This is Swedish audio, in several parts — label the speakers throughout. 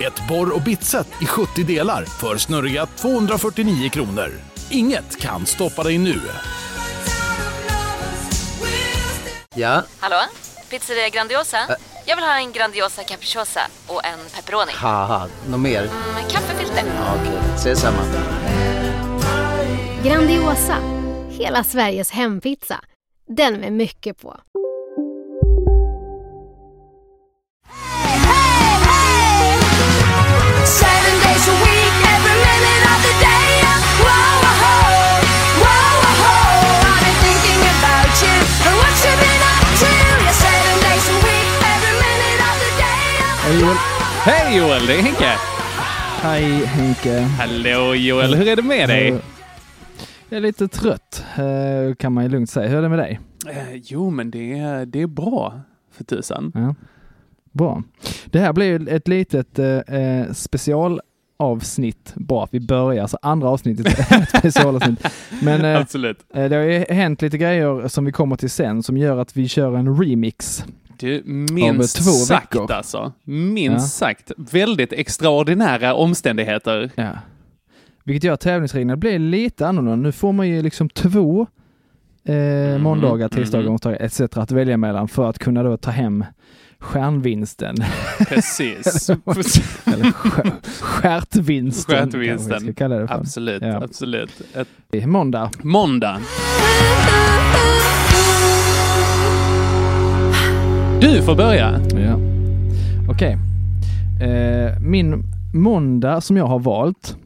Speaker 1: Ett borr och bitset i 70 delar för snurriga 249 kronor. Inget kan stoppa dig nu.
Speaker 2: Ja,
Speaker 3: Hallå? Pizzeria Grandiosa? Jag vill ha en Grandiosa capriciosa och en pepperoni.
Speaker 2: haha, något mer?
Speaker 3: Med kaffefilter.
Speaker 2: Ja, Okej, ses samma.
Speaker 4: Grandiosa, hela Sveriges hempizza. Den med mycket på.
Speaker 5: Seven days a week, every minute of the day. Whoa, whoa, whoa, whoa. I've been thinking about you and what you've been up to. Yeah, seven days a week, every minute of the day.
Speaker 6: Hej Joel, det är Henke!
Speaker 7: Hej Henke.
Speaker 6: Hallå Joel, hur är det med dig?
Speaker 7: Jag är lite trött, eh, kan man ju lugnt säga. Hur är det med dig?
Speaker 6: Eh, jo, men det är, det är bra, för tusan.
Speaker 7: Ja. Bra. Det här blir ju ett litet eh, eh, specialavsnitt. Bra att vi börjar, så andra avsnittet är ett specialavsnitt. Men eh,
Speaker 6: Absolut.
Speaker 7: eh, det har ju hänt lite grejer som vi kommer till sen som gör att vi kör en remix.
Speaker 6: Du, minst
Speaker 7: två
Speaker 6: sagt
Speaker 7: veckor.
Speaker 6: alltså. Minst
Speaker 7: Ja.
Speaker 6: sagt. Väldigt extraordinära omständigheter.
Speaker 7: Ja. Vilket gör att tävlingsreglerna blir lite annorlunda. Nu får man ju liksom två eh, måndagar, tisdagar,
Speaker 6: mhm.
Speaker 7: onsdagar etc. att välja mellan för att kunna då ta hem stjärnvinsten.
Speaker 6: Precis.
Speaker 7: Eller skär- stjärtvinsten.
Speaker 6: Stjärtvinsten.
Speaker 7: kanske vi ska kalla det för.
Speaker 6: absolut,
Speaker 7: Ja.
Speaker 6: absolut. Ett
Speaker 7: Måndag.
Speaker 6: måndag. Du får börja.
Speaker 7: Ja. Okej. Eh, min måndag som jag har valt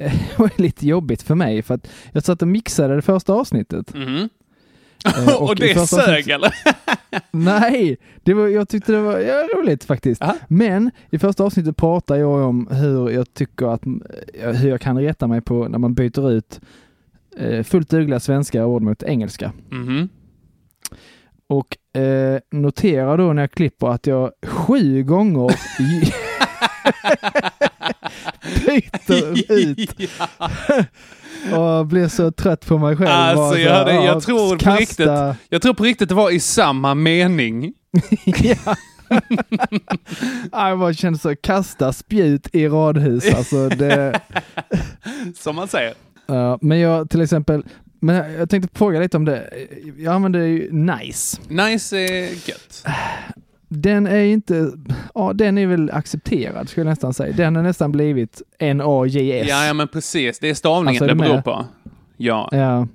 Speaker 7: eh, var lite jobbigt för mig för att jag satt och mixade det första avsnittet.
Speaker 6: Mhm.
Speaker 7: Eh,
Speaker 6: Och,
Speaker 7: i
Speaker 6: det
Speaker 7: första
Speaker 6: sög eller?
Speaker 7: Nej, det var, jag tyckte det var ja, roligt faktiskt.
Speaker 6: Aha.
Speaker 7: Men i första avsnittet pratar jag om hur jag tycker att, eh, hur jag kan reta mig på när man byter ut eh, fullt dugliga svenska ord mot engelska.
Speaker 6: Mhm.
Speaker 7: Och eh, notera då när jag klipper att jag sju gånger i- byter ut
Speaker 6: Ja.
Speaker 7: och blir så trött på mig själv.
Speaker 6: Alltså,
Speaker 7: Bara så
Speaker 6: jag
Speaker 7: här,
Speaker 6: hade- jag
Speaker 7: ja,
Speaker 6: tror på
Speaker 7: kasta-
Speaker 6: riktigt. Jag tror på riktigt det var i samma mening.
Speaker 7: ja. Ja, jag bara kände så, kasta spjut i radhus. Alltså det,
Speaker 6: Som man säger.
Speaker 7: ja, men jag till exempel, men jag tänkte fråga lite om det. Jag använder ju nice.
Speaker 6: Nice är gött.
Speaker 7: Den är ju inte, ja den är väl accepterad skulle jag nästan säga. Den har nästan blivit N-A-J-S.
Speaker 6: Ja, ja, men precis. Det är stavningen
Speaker 7: Alltså, är
Speaker 6: det
Speaker 7: du
Speaker 6: beror
Speaker 7: med?
Speaker 6: på. Ja.
Speaker 7: Ja.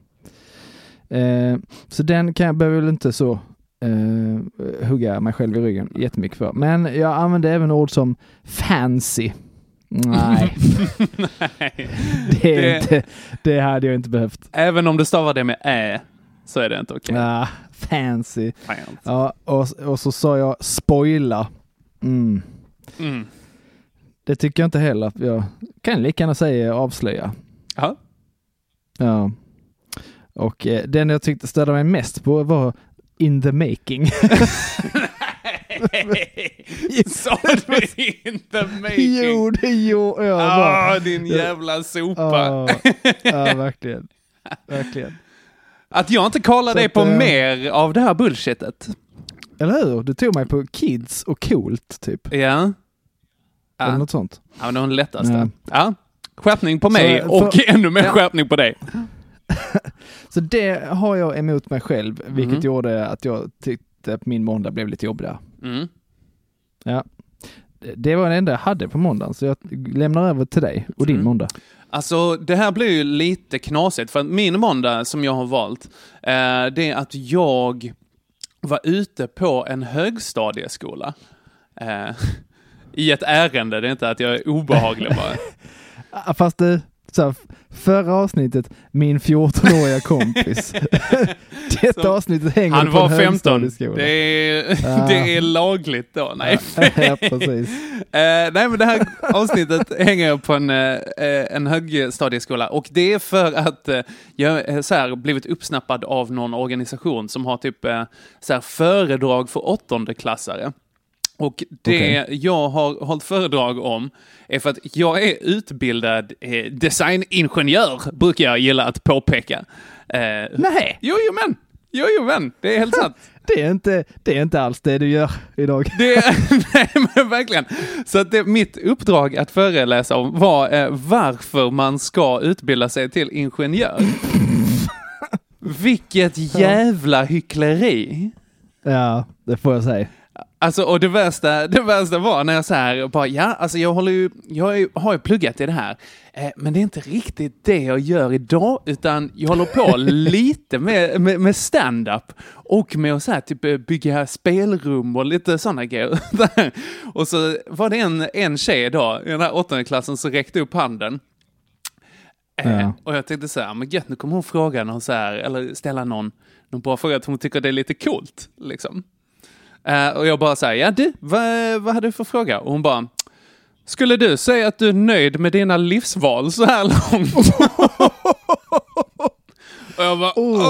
Speaker 7: Eh, så den kan jag behöver väl inte så eh, hugga mig själv i ryggen jättemycket för. Men jag använder även ord som fancy. Nej,
Speaker 6: Nej.
Speaker 7: det, är
Speaker 6: Det-
Speaker 7: Inte, det hade jag inte behövt.
Speaker 6: Även om du stavar det med ä så är det inte okej.
Speaker 7: Ah, fancy.
Speaker 6: Fan.
Speaker 7: Ja, och, och så sa jag spoila. Mm.
Speaker 6: Mm.
Speaker 7: Det tycker jag inte heller. Jag kan lika gärna säga avslöja.
Speaker 6: Ja.
Speaker 7: Ja. Och eh, den jag tyckte stödde mig mest på var in the making.
Speaker 6: Sa du inte making?
Speaker 7: jo, det Ah. gjorde jag. bara.
Speaker 6: Ah, din jävla sopa.
Speaker 7: Ja, ja, verkligen. Verkligen.
Speaker 6: Att jag inte kollar
Speaker 7: Så
Speaker 6: dig
Speaker 7: att,
Speaker 6: på
Speaker 7: eh,
Speaker 6: mer av det här bullshitet.
Speaker 7: Eller hur? Du tog mig på kids och coolt, typ.
Speaker 6: Ja.
Speaker 7: Eller
Speaker 6: Ja,
Speaker 7: något sånt.
Speaker 6: ja men det var den lättaste.
Speaker 7: Ja.
Speaker 6: Ja. Skärpning på mig
Speaker 7: Så,
Speaker 6: och
Speaker 7: för-
Speaker 6: ännu mer
Speaker 7: Ja.
Speaker 6: skärpning på dig.
Speaker 7: Så det har jag emot mig själv, vilket
Speaker 6: Mm.
Speaker 7: gjorde att jag tyckte att min måndag blev lite jobbigare.
Speaker 6: Mm.
Speaker 7: Det var det enda jag hade på måndagen, så jag lämnar över till dig och din
Speaker 6: Mm.
Speaker 7: måndag.
Speaker 6: Alltså, det här blir ju lite knasigt, för att min måndag som jag har valt, eh, det är att jag var ute på en högstadieskola. Eh, I ett ärende, det är inte att jag är obehaglig bara.
Speaker 7: Ah, Fast du, Så här, förra avsnittet, min 14-åriga kompis. Detta
Speaker 6: Så-
Speaker 7: avsnittet hänger
Speaker 6: Han
Speaker 7: på
Speaker 6: var
Speaker 7: en
Speaker 6: 15.
Speaker 7: högstadieskola.
Speaker 6: Det är,
Speaker 7: Ja.
Speaker 6: det är lagligt då. Nej,
Speaker 7: ja, precis.
Speaker 6: Eh, nej, men det här avsnittet hänger jag på en, eh, eh, en högstadieskola och det är för att eh, jag eh, så här, blivit uppsnappad av någon organisation som har typ eh, så här, föredrag för åttondeklassare. Och det jag har hållit föredrag om är för att jag är utbildad eh, designingenjör, brukar jag gilla att påpeka. Eh,
Speaker 7: Nej.
Speaker 6: Jo, jo, men. Jo, jo, men. Det är helt sant.
Speaker 7: Det är, inte, det är inte alls det du gör idag.
Speaker 6: Det, nej, men verkligen. Så att det, mitt uppdrag att föreläsa om var eh, varför man ska utbilda sig till ingenjör. Vilket jävla hyckleri.
Speaker 7: Ja, det får jag säga.
Speaker 6: Alltså, och det värsta, det värsta var när jag så här, bara, ja, alltså jag, håller ju, jag är, ju- har ju pluggat i det här, eh, men det är inte riktigt det jag gör idag, utan jag håller på lite med, med, med stand-up och med att så här, typ, eh, bygga spelrum och lite sådana grejer. och så var det en, en tjej då, i den här åttonde klassen, som räckte upp handen. Eh,
Speaker 7: Ja.
Speaker 6: Och jag tänkte så här, men gött, nu kommer hon fråga någon så här, eller ställa någon, någon bra fråga, att hon tycker det är lite coolt, liksom. Eh, och jag bara säger, ja du, vad, vad hade du för fråga? Och hon bara, skulle du säga att du är nöjd med dina livsval så här långt? och jag bara,
Speaker 7: Oh.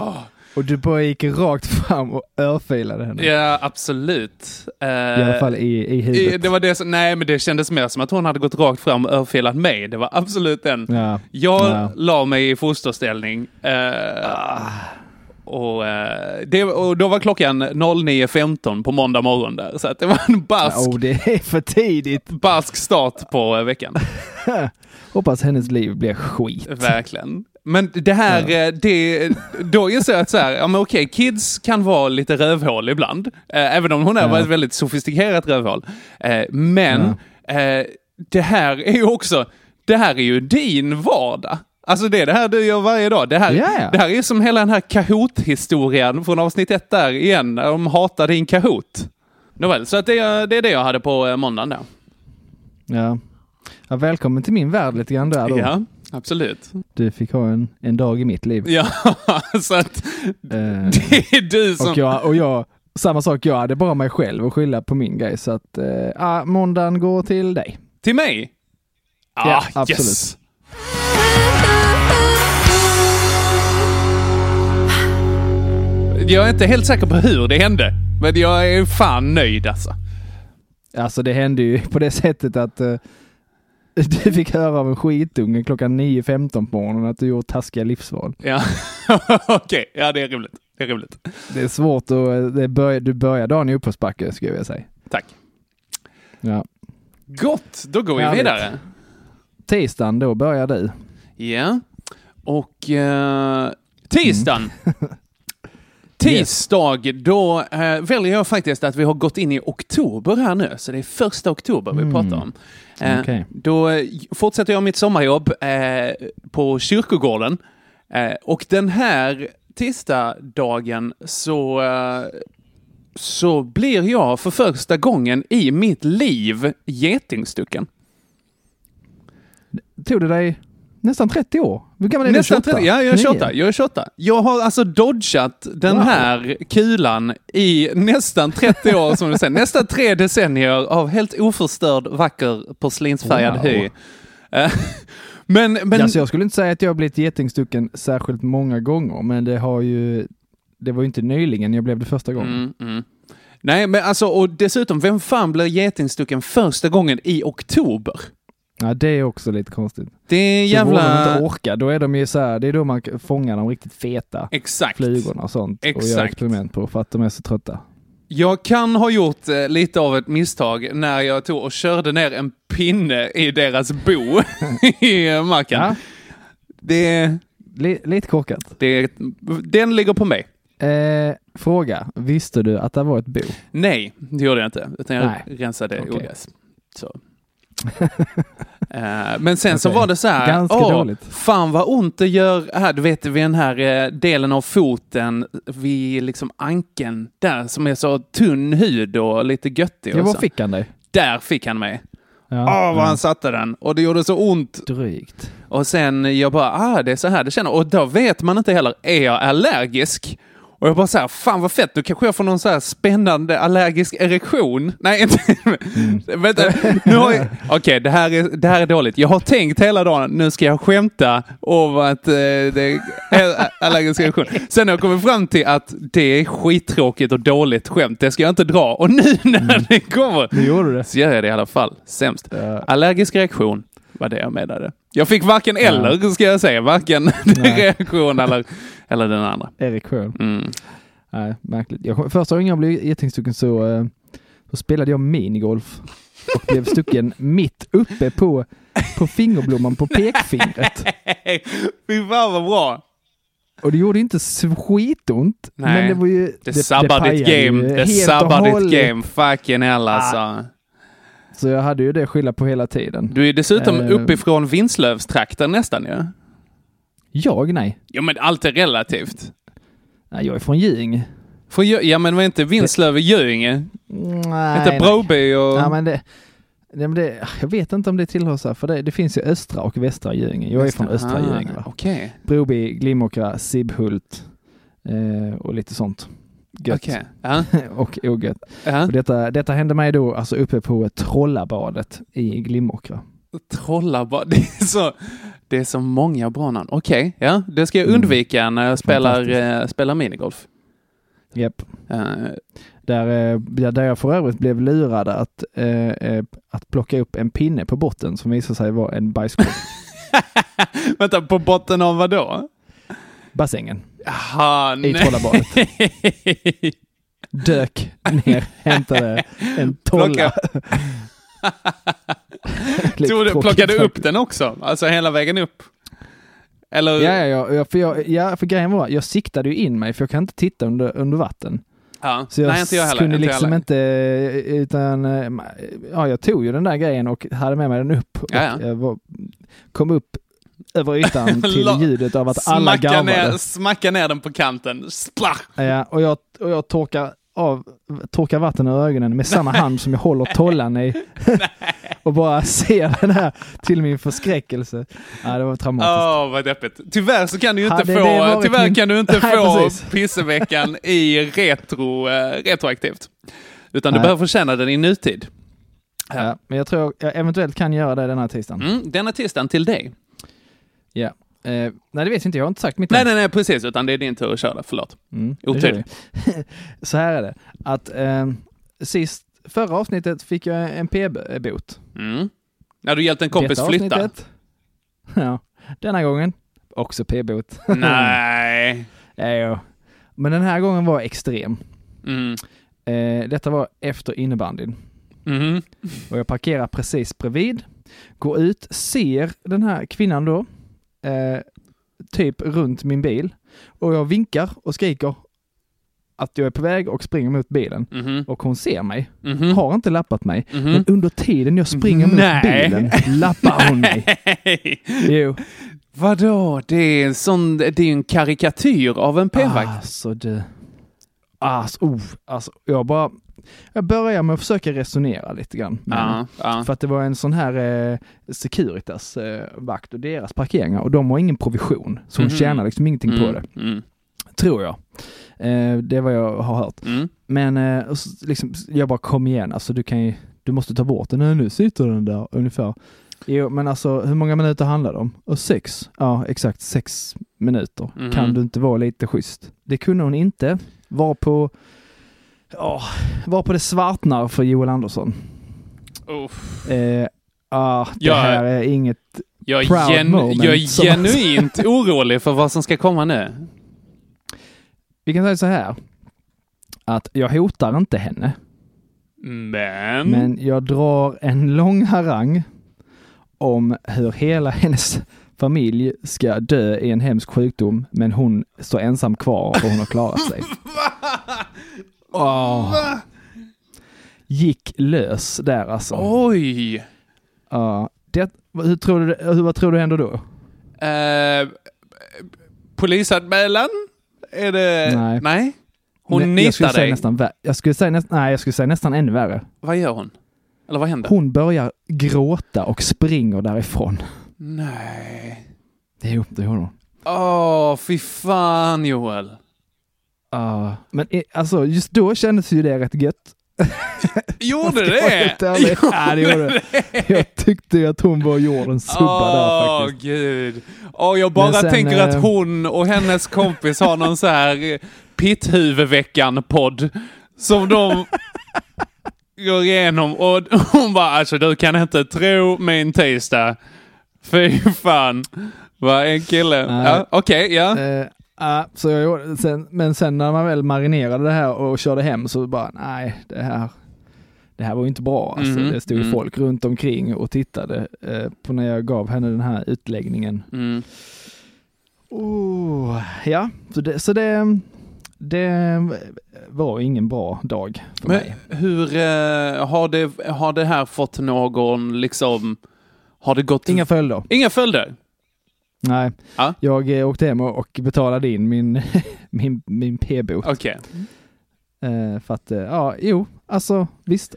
Speaker 6: åh!
Speaker 7: Och du bara gick rakt fram och örfilade henne.
Speaker 6: Ja, absolut. Eh,
Speaker 7: I alla fall i, i
Speaker 6: i-
Speaker 7: huvudet.
Speaker 6: det var det som, nej, men det kändes mer som att hon hade gått rakt fram och örfilat mig. Det var absolut den.
Speaker 7: Ja.
Speaker 6: Jag
Speaker 7: Ja.
Speaker 6: la mig i fosterställning. eh, och, eh, det, och då var klockan 09.15 på måndag morgon där. Så att det var en barsk,
Speaker 7: Oh, det är för tidigt.
Speaker 6: barsk start på eh, veckan.
Speaker 7: Hoppas hennes liv blir skit.
Speaker 6: Eh. Verkligen. Men det här, eh, det, då inser jag att så här, ja men okej, kids kan vara lite rövhål ibland. Eh, även om hon är ett väldigt sofistikerat rövhål. Eh, men eh, det här är ju också, det här är ju din vardag. Alltså det är det här du gör varje dag. Det här,
Speaker 7: Ja, ja.
Speaker 6: det här är ju som hela den här Kahoot-historien från avsnitt ett där igen, när de hatar din Kahoot. Nåväl, så att det, är- det är det jag hade på eh, måndagen där.
Speaker 7: Ja. Ja, välkommen till min värld lite grann där då.
Speaker 6: Ja, absolut.
Speaker 7: Du fick ha en, en dag i mitt liv.
Speaker 6: Ja, så att
Speaker 7: Eh,
Speaker 6: det är du som...
Speaker 7: och, jag, och jag, samma sak, jag hade bara mig själv att skylla på min grej. Så att, eh, ah, måndagen går till dig.
Speaker 6: Till mig?
Speaker 7: Ja,
Speaker 6: Ah,
Speaker 7: absolut.
Speaker 6: Yes. Jag är inte helt säker på hur det hände, men jag är fan nöjd alltså.
Speaker 7: Alltså det hände ju på det sättet att eh, du fick höra av en skitunge klockan 9.15 på morgonen att du gjort taskiga livsval.
Speaker 6: Ja. Okej, ja det är roligt. Det är roligt.
Speaker 7: Det är svårt att, eh, det börjar- du börjar dagen i uppförsbacke skulle jag säga.
Speaker 6: Tack.
Speaker 7: Ja.
Speaker 6: Gott, då går vi
Speaker 7: Härligt.
Speaker 6: vidare.
Speaker 7: Tisdagen då börjar du.
Speaker 6: Ja. Och eh, tisdagen. Tisdag, då eh, väljer jag faktiskt att vi har gått in i oktober här nu, så det är första oktober vi pratar om. Eh,
Speaker 7: Okej.
Speaker 6: Då eh, fortsätter jag mitt sommarjobb eh, på kyrkogården. Eh, och den här tisdagen så, eh, så blir jag för första gången i mitt liv getingstucken.
Speaker 7: Tog det dig nästan 30 år? Hur gammal är
Speaker 6: Nästan
Speaker 7: du? 28?
Speaker 6: 30, ja, jag är
Speaker 7: Nio.
Speaker 6: 28. Jag är 28. Jag har alltså dodgat den
Speaker 7: Wow.
Speaker 6: här kulan i nästan 30 år, som du säger. Nästan tre decennier av helt oförstörd, vacker, porslinsfärgad
Speaker 7: Wow.
Speaker 6: hy. Eh, Men, men
Speaker 7: Alltså jag skulle inte säga att jag har blivit getingstucken särskilt många gånger, men det har ju... Det var ju inte nyligen jag blev det första gången.
Speaker 6: Mm, mm. Nej, men alltså, och dessutom, vem fan blir getingstucken första gången i oktober?
Speaker 7: Ja, det är också lite konstigt.
Speaker 6: Det är
Speaker 7: Så borde de
Speaker 6: jävla...
Speaker 7: inte orka, då är de ju så här, det är då man fångar de riktigt feta
Speaker 6: Exakt.
Speaker 7: flugorna och sånt och gör
Speaker 6: Exakt.
Speaker 7: experiment på för att de är så trötta.
Speaker 6: Jag kan ha gjort eh, lite av ett misstag när jag tog och körde ner en pinne i deras bo i eh, marken.
Speaker 7: Ja,
Speaker 6: Det,
Speaker 7: li, lite korkat.
Speaker 6: det, den ligger på mig.
Speaker 7: Eh, fråga, visste du att det var ett bo?
Speaker 6: Nej, det gjorde jag inte. Utan jag
Speaker 7: Nej.
Speaker 6: rensade
Speaker 7: Okej.
Speaker 6: ogräs. Så. Eh, Men sen så
Speaker 7: Okej.
Speaker 6: var det så här,
Speaker 7: Ganska
Speaker 6: "Åh,
Speaker 7: dåligt."
Speaker 6: fan vad ont det gör här, du vet vid den här eh, delen av foten, vid liksom ankeln där som är så tunn hud och lite göttig.
Speaker 7: Ja,
Speaker 6: och
Speaker 7: var
Speaker 6: så.
Speaker 7: fick han dig?
Speaker 6: Där fick han mig.
Speaker 7: Ja.
Speaker 6: Ah, vad han satte den. Och det gjorde så ont.
Speaker 7: Drygt.
Speaker 6: Och sen jag bara, ah, det är så här det känner. Och då vet man inte heller, är jag allergisk? Och jag bara så här, fan vad fett, nu kanske jag får någon så här spännande allergisk erektion. Nej, inte...
Speaker 7: Mm.
Speaker 6: Vänta, nu har jag... Okej, det, här är, det här är dåligt. Jag har tänkt hela dagen, nu ska jag skämta om att eh, det är allergisk erektion. Sen har jag kommit fram till att det är skittråkigt och dåligt skämt, det ska jag inte dra. Och nu när det kommer
Speaker 7: Mm. Nu gjorde du det.
Speaker 6: så gör jag det i alla fall. Sämst. Allergisk reaktion var det jag menade. Jag fick varken eller, ska jag säga. Varken reaktion eller, eller den andra.
Speaker 7: Erik själv.
Speaker 6: Mm.
Speaker 7: Nej, märkligt. Jag, kom- första gången jag blev jättestucken så, eh, så spelade jag minigolf och blev stucken mitt uppe på, på fingerblomman på pekfingret.
Speaker 6: Fy fan vad bra!
Speaker 7: Och det gjorde inte skitont,
Speaker 6: Nej.
Speaker 7: men det var ju...
Speaker 6: Det sabbar ditt
Speaker 7: pajade
Speaker 6: game.
Speaker 7: ju
Speaker 6: Det
Speaker 7: helt och
Speaker 6: sabbar ditt
Speaker 7: hållet. Ah.
Speaker 6: game. Fucking hell alltså.
Speaker 7: Så jag hade ju det att skylla på hela tiden.
Speaker 6: Du är dessutom
Speaker 7: Eh.
Speaker 6: uppifrån Vinslövstrakten nästan ju. Ja?
Speaker 7: Jag? Nej.
Speaker 6: ja men allt är relativt.
Speaker 7: nej jag är från Ljung.
Speaker 6: Får jag, ja men var inte Vinslöv i Göinge?
Speaker 7: Nej,
Speaker 6: Inte Broby och...
Speaker 7: Nej, men det, nej, men det, jag vet inte om det tillhör så här, för det, det finns ju östra och västra Göinge. Jag är från östra
Speaker 6: Ah,
Speaker 7: Göinge. va.
Speaker 6: Okej.
Speaker 7: Broby, Glimåkra, Sibbhult eh, och lite sånt. Gött
Speaker 6: Okej. Ja.
Speaker 7: och ogött.
Speaker 6: ja.
Speaker 7: Och detta, detta hände mig då alltså uppe på Trollabadet i Glimåkra.
Speaker 6: Trollarbad. Det är så, det är så många bra namn. Okej, ja. Det ska jag
Speaker 7: Mm.
Speaker 6: undvika när jag spelar, eh, spelar minigolf.
Speaker 7: Japp.
Speaker 6: Eh,
Speaker 7: Där, eh, där där jag för övrigt blev lurad att, eh, eh, att plocka upp en pinne på botten som visade sig vara en bajskorv.
Speaker 6: vänta, på botten av vad då?
Speaker 7: Bassängen
Speaker 6: Jaha,
Speaker 7: i
Speaker 6: nej.
Speaker 7: Trollabadet. Dök ner, hämtade en tolla. Lite
Speaker 6: Tog du,
Speaker 7: tråkigt
Speaker 6: plockade du
Speaker 7: faktiskt.
Speaker 6: upp den också? Alltså hela vägen upp? Eller?
Speaker 7: Ja, ja, ja, ja, för jag, ja, för grejen var, jag siktade ju in mig för jag kan inte titta under, under vatten.
Speaker 6: Ja.
Speaker 7: Så jag,
Speaker 6: nej, inte jag heller.
Speaker 7: kunde
Speaker 6: inte jag
Speaker 7: liksom
Speaker 6: heller.
Speaker 7: inte, utan, eh, ja, jag tog ju den där grejen och hade med mig den upp. Och
Speaker 6: Ja, ja.
Speaker 7: Jag var, kom upp över ytan till
Speaker 6: La-
Speaker 7: ljudet av att alla
Speaker 6: smacka, ner,
Speaker 7: garvade.
Speaker 6: smacka ner den på kanten. Splach!
Speaker 7: Ja, och jag, och jag torkar, av, torkar vatten ur ögonen med samma hand som jag håller tollan i. och bara ser den här till min förskräckelse. Ja, det var traumatiskt.
Speaker 6: Åh, vad deppigt. Tyvärr så kan du ju inte
Speaker 7: Hade det
Speaker 6: få,
Speaker 7: varit
Speaker 6: tyvärr
Speaker 7: min-
Speaker 6: kan du inte
Speaker 7: Nej,
Speaker 6: få
Speaker 7: precis.
Speaker 6: pisseveckan i retro, eh, retroaktivt. Utan du
Speaker 7: Nej.
Speaker 6: behöver känna den i nutid.
Speaker 7: Ja, men jag tror jag eventuellt kan göra det den här tisdagen.
Speaker 6: Mm, denna tisdagen till dig.
Speaker 7: Ja. Eh, nej, det vet jag inte. Jag har inte sagt mitt
Speaker 6: Nej,
Speaker 7: än.
Speaker 6: nej, nej, precis. Utan det är din tur att köra. Förlåt.
Speaker 7: Mm, det
Speaker 6: Otur.
Speaker 7: gör vi. Så här är det. Att eh, sist, förra avsnittet fick jag en p-bot.
Speaker 6: Mm. När du hjälpte en kompis
Speaker 7: Detta
Speaker 6: flytta.
Speaker 7: avsnittet- Ja, denna gången också p-bot.
Speaker 6: Nej.
Speaker 7: ja, ja. Men den här gången var extrem.
Speaker 6: Mm.
Speaker 7: Eh, detta var efter innebandyn.
Speaker 6: Mhm.
Speaker 7: Och jag parkerar precis bredvid, går ut, ser den här kvinnan då, eh, typ runt min bil. Och jag vinkar och skriker att jag är på väg och springer mot bilen.
Speaker 6: Mhm.
Speaker 7: Och hon ser mig,
Speaker 6: Mhm.
Speaker 7: har inte lappat mig.
Speaker 6: Mhm.
Speaker 7: Men under tiden jag springer mot
Speaker 6: Nej.
Speaker 7: bilen lappar hon mig. Jo.
Speaker 6: Vadå? Det är en sån, det är ju en karikatyr av en p-vakt.
Speaker 7: Alltså du. Alltså, oh, alltså, jag bara... Jag börjar med att försöka resonera lite grann. med henne.
Speaker 6: Ja, ja.
Speaker 7: För att det var en sån här eh, Securitas-vakt och deras parkeringar och de har ingen provision. Så hon
Speaker 6: Mhm.
Speaker 7: tjänar liksom ingenting på det,
Speaker 6: Mm, mm,
Speaker 7: tror jag. Eh, det är vad jag har hört.
Speaker 6: mm.
Speaker 7: Men eh, och så, liksom, jag bara kom igen, alltså du kan ju, du måste ta bort den. Nej, nu sitter den där ungefär. Jo, men alltså hur många minuter handlar det om? Och sex? Ja, exakt sex minuter.
Speaker 6: Mhm.
Speaker 7: Kan du inte vara lite schysst? Det kunde hon inte. Var på, ja, var på det svartnar för Joel Andersson.
Speaker 6: Uff.
Speaker 7: Eh, ah, det
Speaker 6: Ja.
Speaker 7: här är inget...
Speaker 6: Jag
Speaker 7: Proud
Speaker 6: är, gen-
Speaker 7: moment,
Speaker 6: jag är
Speaker 7: som man
Speaker 6: genuint orolig för vad som ska komma nu.
Speaker 7: Vi kan säga så här, att jag hotar inte henne.
Speaker 6: Men...
Speaker 7: Men jag drar en lång harang om hur hela hennes familj ska dö i en hemsk sjukdom, men hon står ensam kvar och hon har klarat sig. Åh. Gick lös där alltså.
Speaker 6: Oj!
Speaker 7: Ja. det, hur tror du, hur, vad tror du händer då?
Speaker 6: Eh, polisanmälan? Är det...
Speaker 7: Nej.
Speaker 6: Hon
Speaker 7: Nej, jag skulle
Speaker 6: nitar
Speaker 7: säga
Speaker 6: dig.
Speaker 7: Nästan, vä- jag, skulle säga nästan, nej, jag skulle säga nästan ännu värre.
Speaker 6: Vad gör hon? Eller vad händer?
Speaker 7: Hon börjar gråta och springer därifrån.
Speaker 6: Nej.
Speaker 7: Det är upp till honom.
Speaker 6: Åh, fy fan Joel.
Speaker 7: Ja, men i- alltså just då kändes ju det rätt gött.
Speaker 6: Gjorde
Speaker 7: Jag ska vara helt ärlig. Ja, det gjorde det. Jag tyckte ju att hon var jordens subba där
Speaker 6: Åh
Speaker 7: faktiskt.
Speaker 6: gud. Åh, jag bara
Speaker 7: Men sen,
Speaker 6: tänker
Speaker 7: eh,
Speaker 6: att hon och hennes kompis har någon så här eh, pitthuvudveckan-podd som de går igenom och hon bara alltså du kan inte tro min tisdag. Fy fan. Vad en kille.
Speaker 7: Nej.
Speaker 6: Ja, Okej, ja.
Speaker 7: Eh, ja, så jag gjorde, sen, men sen när man väl marinerade det här och körde hem så bara, nej, det här, det här var ju inte bra. Alltså,
Speaker 6: Mhm,
Speaker 7: Det stod ju
Speaker 6: mm.
Speaker 7: folk runt omkring och tittade eh, på när jag gav henne den här utläggningen.
Speaker 6: Mm.
Speaker 7: Oh, ja, så, det, så det, det var ingen bra dag för
Speaker 6: Men
Speaker 7: mig.
Speaker 6: hur eh, har, det, har det här fått någon liksom... Har det gått...
Speaker 7: Inga följder.
Speaker 6: Inga följder?
Speaker 7: Nej,
Speaker 6: Ja.
Speaker 7: jag eh, åkte hem och och betalade in min, min, min p-bok.
Speaker 6: Okej.
Speaker 7: Eh, för att, eh, ja, jo, alltså visst.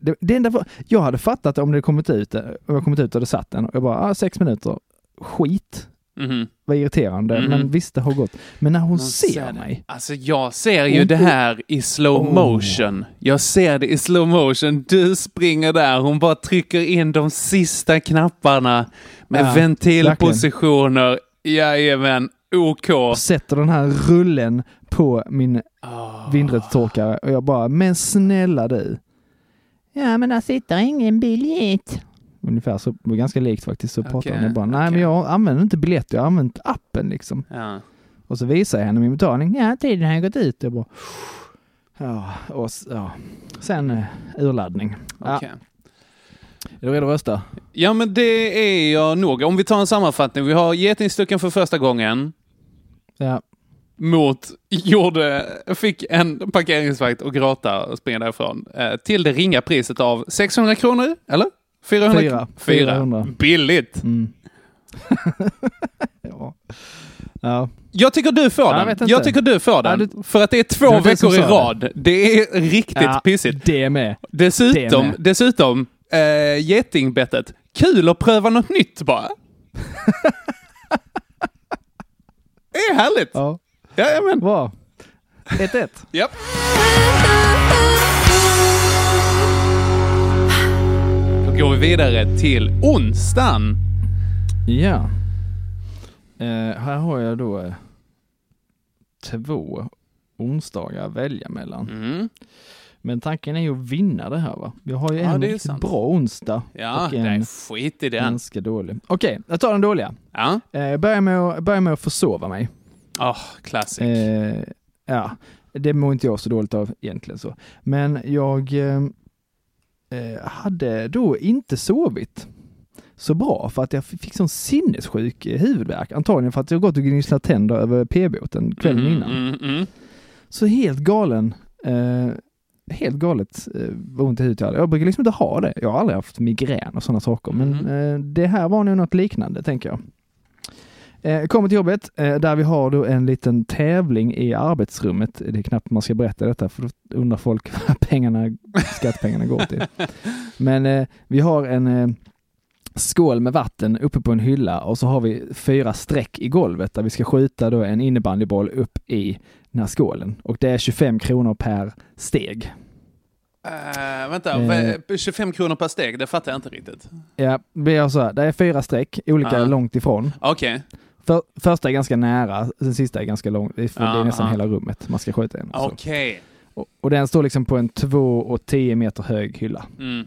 Speaker 7: Det, det enda var, jag hade fattat om det kommit ut, eh, om jag kommit ut och det satt en, och jag bara, ah, sex minuter, skit,
Speaker 6: Mhm.
Speaker 7: vad irriterande,
Speaker 6: Mm.
Speaker 7: men visst det har gått. Men när hon ser,
Speaker 6: ser det.
Speaker 7: mig,
Speaker 6: Alltså jag ser ju
Speaker 7: Hon-
Speaker 6: det här i slow
Speaker 7: Oh.
Speaker 6: motion. Jag ser det i slow motion. Du springer där, hon bara trycker in de sista knapparna med
Speaker 7: Ja,
Speaker 6: ventilpositioner. Jajamän, OK.
Speaker 7: sätter den här rullen på min
Speaker 6: Ah.
Speaker 7: vindrutetorkare och jag bara, men snälla du. Ja, men där sitter ingen biljett. Ungefär så, ganska likt faktiskt, så pratar
Speaker 6: Okej,
Speaker 7: hon. Jag bara, nej men
Speaker 6: okej.
Speaker 7: jag använder inte biljett, jag har använt appen liksom.
Speaker 6: Ja.
Speaker 7: Och så visar jag henne min betalning. Ja, tiden har gått ut. Jag bara... Ja, och s- ja. Sen eh, urladdning.
Speaker 6: okej.
Speaker 7: Är du redo att rösta?
Speaker 6: Ja, men det är jag nog. Om vi tar en sammanfattning. Vi har getingstucken för första gången.
Speaker 7: Ja.
Speaker 6: mot, gjorde, fick en parkeringsvakt och gråta och springa därifrån. Eh, till det ringa priset av 600 kronor, eller? 400?
Speaker 7: Fyra. 400.
Speaker 6: Billigt.
Speaker 7: Mm. ja. Ja.
Speaker 6: Jag tycker du får
Speaker 7: jag
Speaker 6: den.
Speaker 7: vet
Speaker 6: Jag,
Speaker 7: inte.
Speaker 6: tycker du får den.
Speaker 7: Ja, du-
Speaker 6: För att det är två
Speaker 7: var du som
Speaker 6: veckor i
Speaker 7: sa det.
Speaker 6: rad. Det är riktigt
Speaker 7: ja,
Speaker 6: pissigt.
Speaker 7: Det med. det
Speaker 6: Dessutom,
Speaker 7: med.
Speaker 6: dessutom eh, getingbettet. Kul att pröva något nytt bara. det är härligt. Ja.
Speaker 7: Ja.
Speaker 6: Jajamän.
Speaker 7: Bra. 1-1.
Speaker 6: Japp. Då går vi vidare till onsdagen.
Speaker 7: ja. Eh, här har jag då eh, två onsdagar att välja mellan.
Speaker 6: Mm.
Speaker 7: Men tanken är ju att vinna det här va? Jag har ju
Speaker 6: Ja,
Speaker 7: en
Speaker 6: det är
Speaker 7: riktigt
Speaker 6: sant.
Speaker 7: bra onsdag
Speaker 6: Ja,
Speaker 7: och en
Speaker 6: nej, skit i den.
Speaker 7: ganska dålig. Okej, jag tar den dåliga.
Speaker 6: Ja,
Speaker 7: Eh, Jag börjar med att, börjar med att försova mig.
Speaker 6: oh, classic.
Speaker 7: Eh, ja, det mår inte jag så dåligt av egentligen så. Men jag eh, eh, hade då inte sovit så bra för att jag fick sån sinnessjuk eh, huvudvärk. Antagligen för att jag gått och gnisslat tänder över p-båten kvällen
Speaker 6: Mm,
Speaker 7: innan.
Speaker 6: mm, mm.
Speaker 7: Så helt galen, eh, helt galet eh, vad ont i huvudet jag hade. Jag brukar liksom inte ha det. Jag har aldrig haft migrän och sådana saker, men eh, det här var nog något liknande tänker jag. Eh, kommer till jobbet eh, där vi har då en liten tävling i arbetsrummet. Det är knappt man ska berätta detta för då undrar folk vad pengarna, skattepengarna går till. Men eh, vi har en eh, skål med vatten uppe på en hylla och så har vi fyra streck i golvet där vi ska skjuta då en innebandyboll upp i den här skålen och det är 25 kronor per steg.
Speaker 6: Eh, vänta,
Speaker 7: Eh.
Speaker 6: va- 25 kronor per steg, det fattar jag inte riktigt.
Speaker 7: Ja, vi har så här, det är fyra streck, olika
Speaker 6: Ja.
Speaker 7: långt ifrån.
Speaker 6: Okej,
Speaker 7: För, första är ganska nära, den sista är ganska lång, det är, det är
Speaker 6: Ja,
Speaker 7: nästan
Speaker 6: ja.
Speaker 7: hela rummet man ska skjuta in. Så.
Speaker 6: okej.
Speaker 7: Och, och den står liksom på en 2 och 10 meter hög hylla.
Speaker 6: Mm.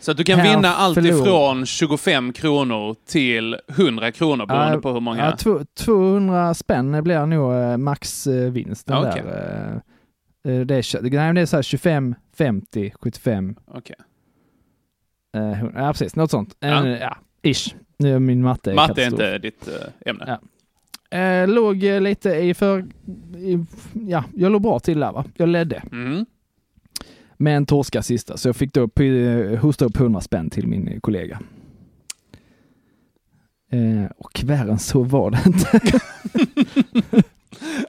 Speaker 6: Så att du kan
Speaker 7: Här
Speaker 6: vinna allt
Speaker 7: förlor-
Speaker 6: ifrån 25 kronor till 100 kronor beroende
Speaker 7: Ja,
Speaker 6: på hur många.
Speaker 7: Ja, två- 200 spänn blir nog eh, max eh, vinsten
Speaker 6: Ja, okej.
Speaker 7: där. Eh, eh, Det är, tjo- nej, men det är så här 25, 50, 75,
Speaker 6: Okej.
Speaker 7: eh, 100. Ja, precis. Något sånt. Eh,
Speaker 6: Ja.
Speaker 7: ja, ish. Nu är min matte
Speaker 6: Matte är
Speaker 7: katastrof.
Speaker 6: inte ditt eh, ämne.
Speaker 7: Ja. Eh, låg eh, lite i för... I, ja, jag låg bra till där va. Jag ledde.
Speaker 6: Mm.
Speaker 7: Men torska sista, så jag fick då py- hosta upp 100 spänn till min eh, kollega. Eh, och värre än så var det inte.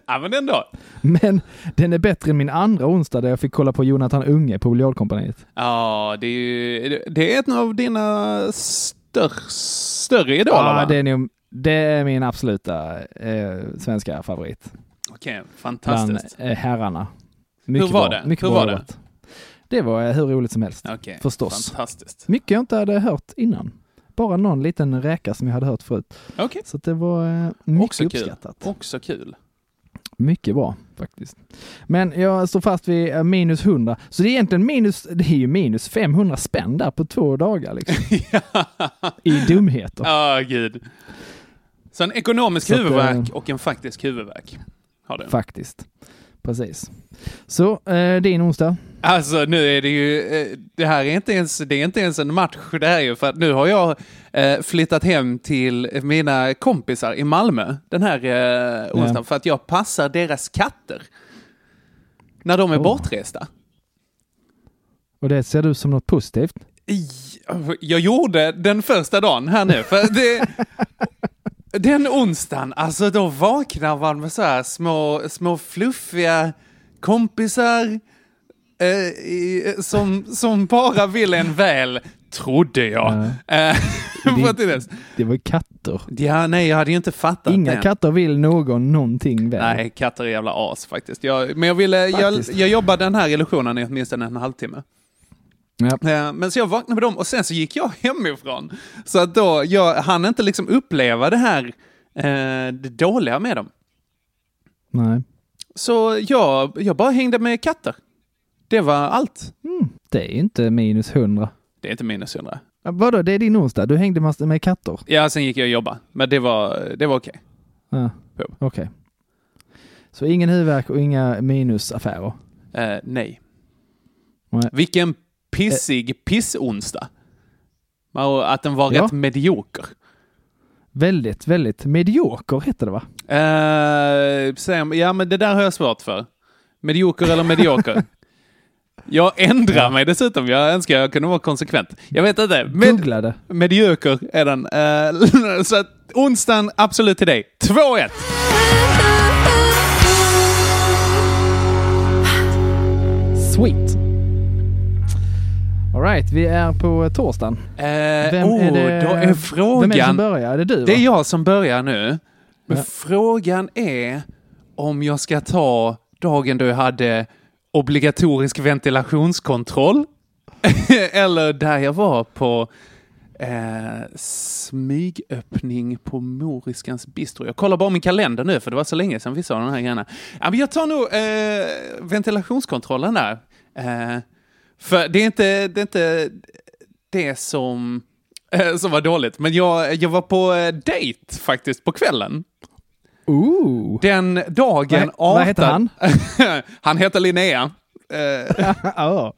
Speaker 6: ja, men ändå.
Speaker 7: Men den är bättre än min andra onsdag där jag fick kolla på Jonathan Unge på Biljardkompaniet.
Speaker 6: Ja, det är ju... Det är ett av dina stör, större idoler,
Speaker 7: Ja,
Speaker 6: va?
Speaker 7: Ah, det är, nog, det är min absoluta eh, svenska favorit.
Speaker 6: Okej,
Speaker 7: Bland
Speaker 6: fantastiskt.
Speaker 7: eh, herrarna.
Speaker 6: Hur var det?
Speaker 7: Mycket
Speaker 6: Hur
Speaker 7: bra
Speaker 6: var det?
Speaker 7: jobbat. Det var eh, hur roligt som helst.
Speaker 6: Okej,
Speaker 7: Förstås.
Speaker 6: fantastiskt.
Speaker 7: Mycket jag inte hade hört innan. Bara någon liten räka som jag hade hört förut.
Speaker 6: Okej.
Speaker 7: Så att det var eh, mycket
Speaker 6: Också kul.
Speaker 7: uppskattat.
Speaker 6: Också kul.
Speaker 7: Mycket bra faktiskt. Men jag står fast vid eh, minus 100. Så det är egentligen minus, det är ju minus 500 spänn där på två dagar liksom. I dumheter.
Speaker 6: Ja, gud. Så en ekonomisk
Speaker 7: Så att,
Speaker 6: huvudvärk
Speaker 7: eh,
Speaker 6: och en faktisk huvudvärk har du.
Speaker 7: Faktiskt. Precis. Så, eh, din onsdag.
Speaker 6: Alltså nu är det ju, eh, det här är inte ens, det är inte ens en match det här är ju för att nu har jag eh, flyttat hem till mina kompisar i Malmö den här eh, onsdagen för att jag passar deras katter. När de är bortresta.
Speaker 7: Och det ser du som något positivt.
Speaker 6: Jag gjorde den första dagen här nu. För det, den onsdagen, alltså då vaknar man med så här små, små fluffiga kompisar eh, i- som, som bara vill en väl, trodde jag. Eh, för att det, är det.
Speaker 7: Det var ju katter.
Speaker 6: ja, nej, jag hade ju inte fattat
Speaker 7: Inga
Speaker 6: det.
Speaker 7: katter vill någon någonting väl.
Speaker 6: Nej, katter är jävla as faktiskt. Jag, men jag, ville, jag,
Speaker 7: Faktiskt.
Speaker 6: jag jobbade den här illusionen i åtminstone en halvtimme.
Speaker 7: Ja.
Speaker 6: Eh, Men så jag vaknade med dem och sen så gick jag hemifrån. Så att då, jag hann inte liksom uppleva det här eh, det dåliga med dem.
Speaker 7: Nej.
Speaker 6: Så jag, jag bara hängde med katter. Det var allt.
Speaker 7: Det är inte minus 100.
Speaker 6: Det är inte minus 100.
Speaker 7: Ja, Vadå, det är din onsdag? Du hängde massor med katter?
Speaker 6: Ja, sen gick jag och jobbade. Men det var, det var okej.
Speaker 7: Ja.
Speaker 6: Jo.
Speaker 7: Okej. Så ingen huvudvärk och inga minusaffärer?
Speaker 6: Eh, nej.
Speaker 7: Nej.
Speaker 6: Vilken pissig pissonsdag. Och Att den var
Speaker 7: Ja.
Speaker 6: rätt medioker.
Speaker 7: Väldigt, väldigt medioker hette det va?
Speaker 6: Eh, säger man- ja, men det där har jag svårt för. Medioker eller medioker? jag ändrar mig dessutom. Jag önskar jag kunde vara konsekvent. Jag vet inte. Med,
Speaker 7: Googlade.
Speaker 6: medioker är den. Eh, så att onsdagen, absolut till dig. 2-1!
Speaker 7: Sweet. Alright, vi är på torsdagen.
Speaker 6: Eh, oh, Då är frågan...
Speaker 7: Vem är det som börjar? Är det du? Va?
Speaker 6: Det är jag som börjar nu. Men frågan är om jag ska ta dagen då jag hade obligatorisk ventilationskontroll eller där jag var på eh, smygöppning på Moriskans bistro. Jag kollar bara min kalender nu för det var så länge sedan vi sa de här grejerna. Ja, men jag tar nog eh, ventilationskontrollen där. Eh, för det är inte, det är inte det som, eh, som var dåligt. Men jag, jag var på eh, dejt faktiskt på kvällen.
Speaker 7: Ooh.
Speaker 6: Den dagen
Speaker 7: Vad- vad heter
Speaker 6: 18 han heter Linnea. Eh,
Speaker 7: Ja,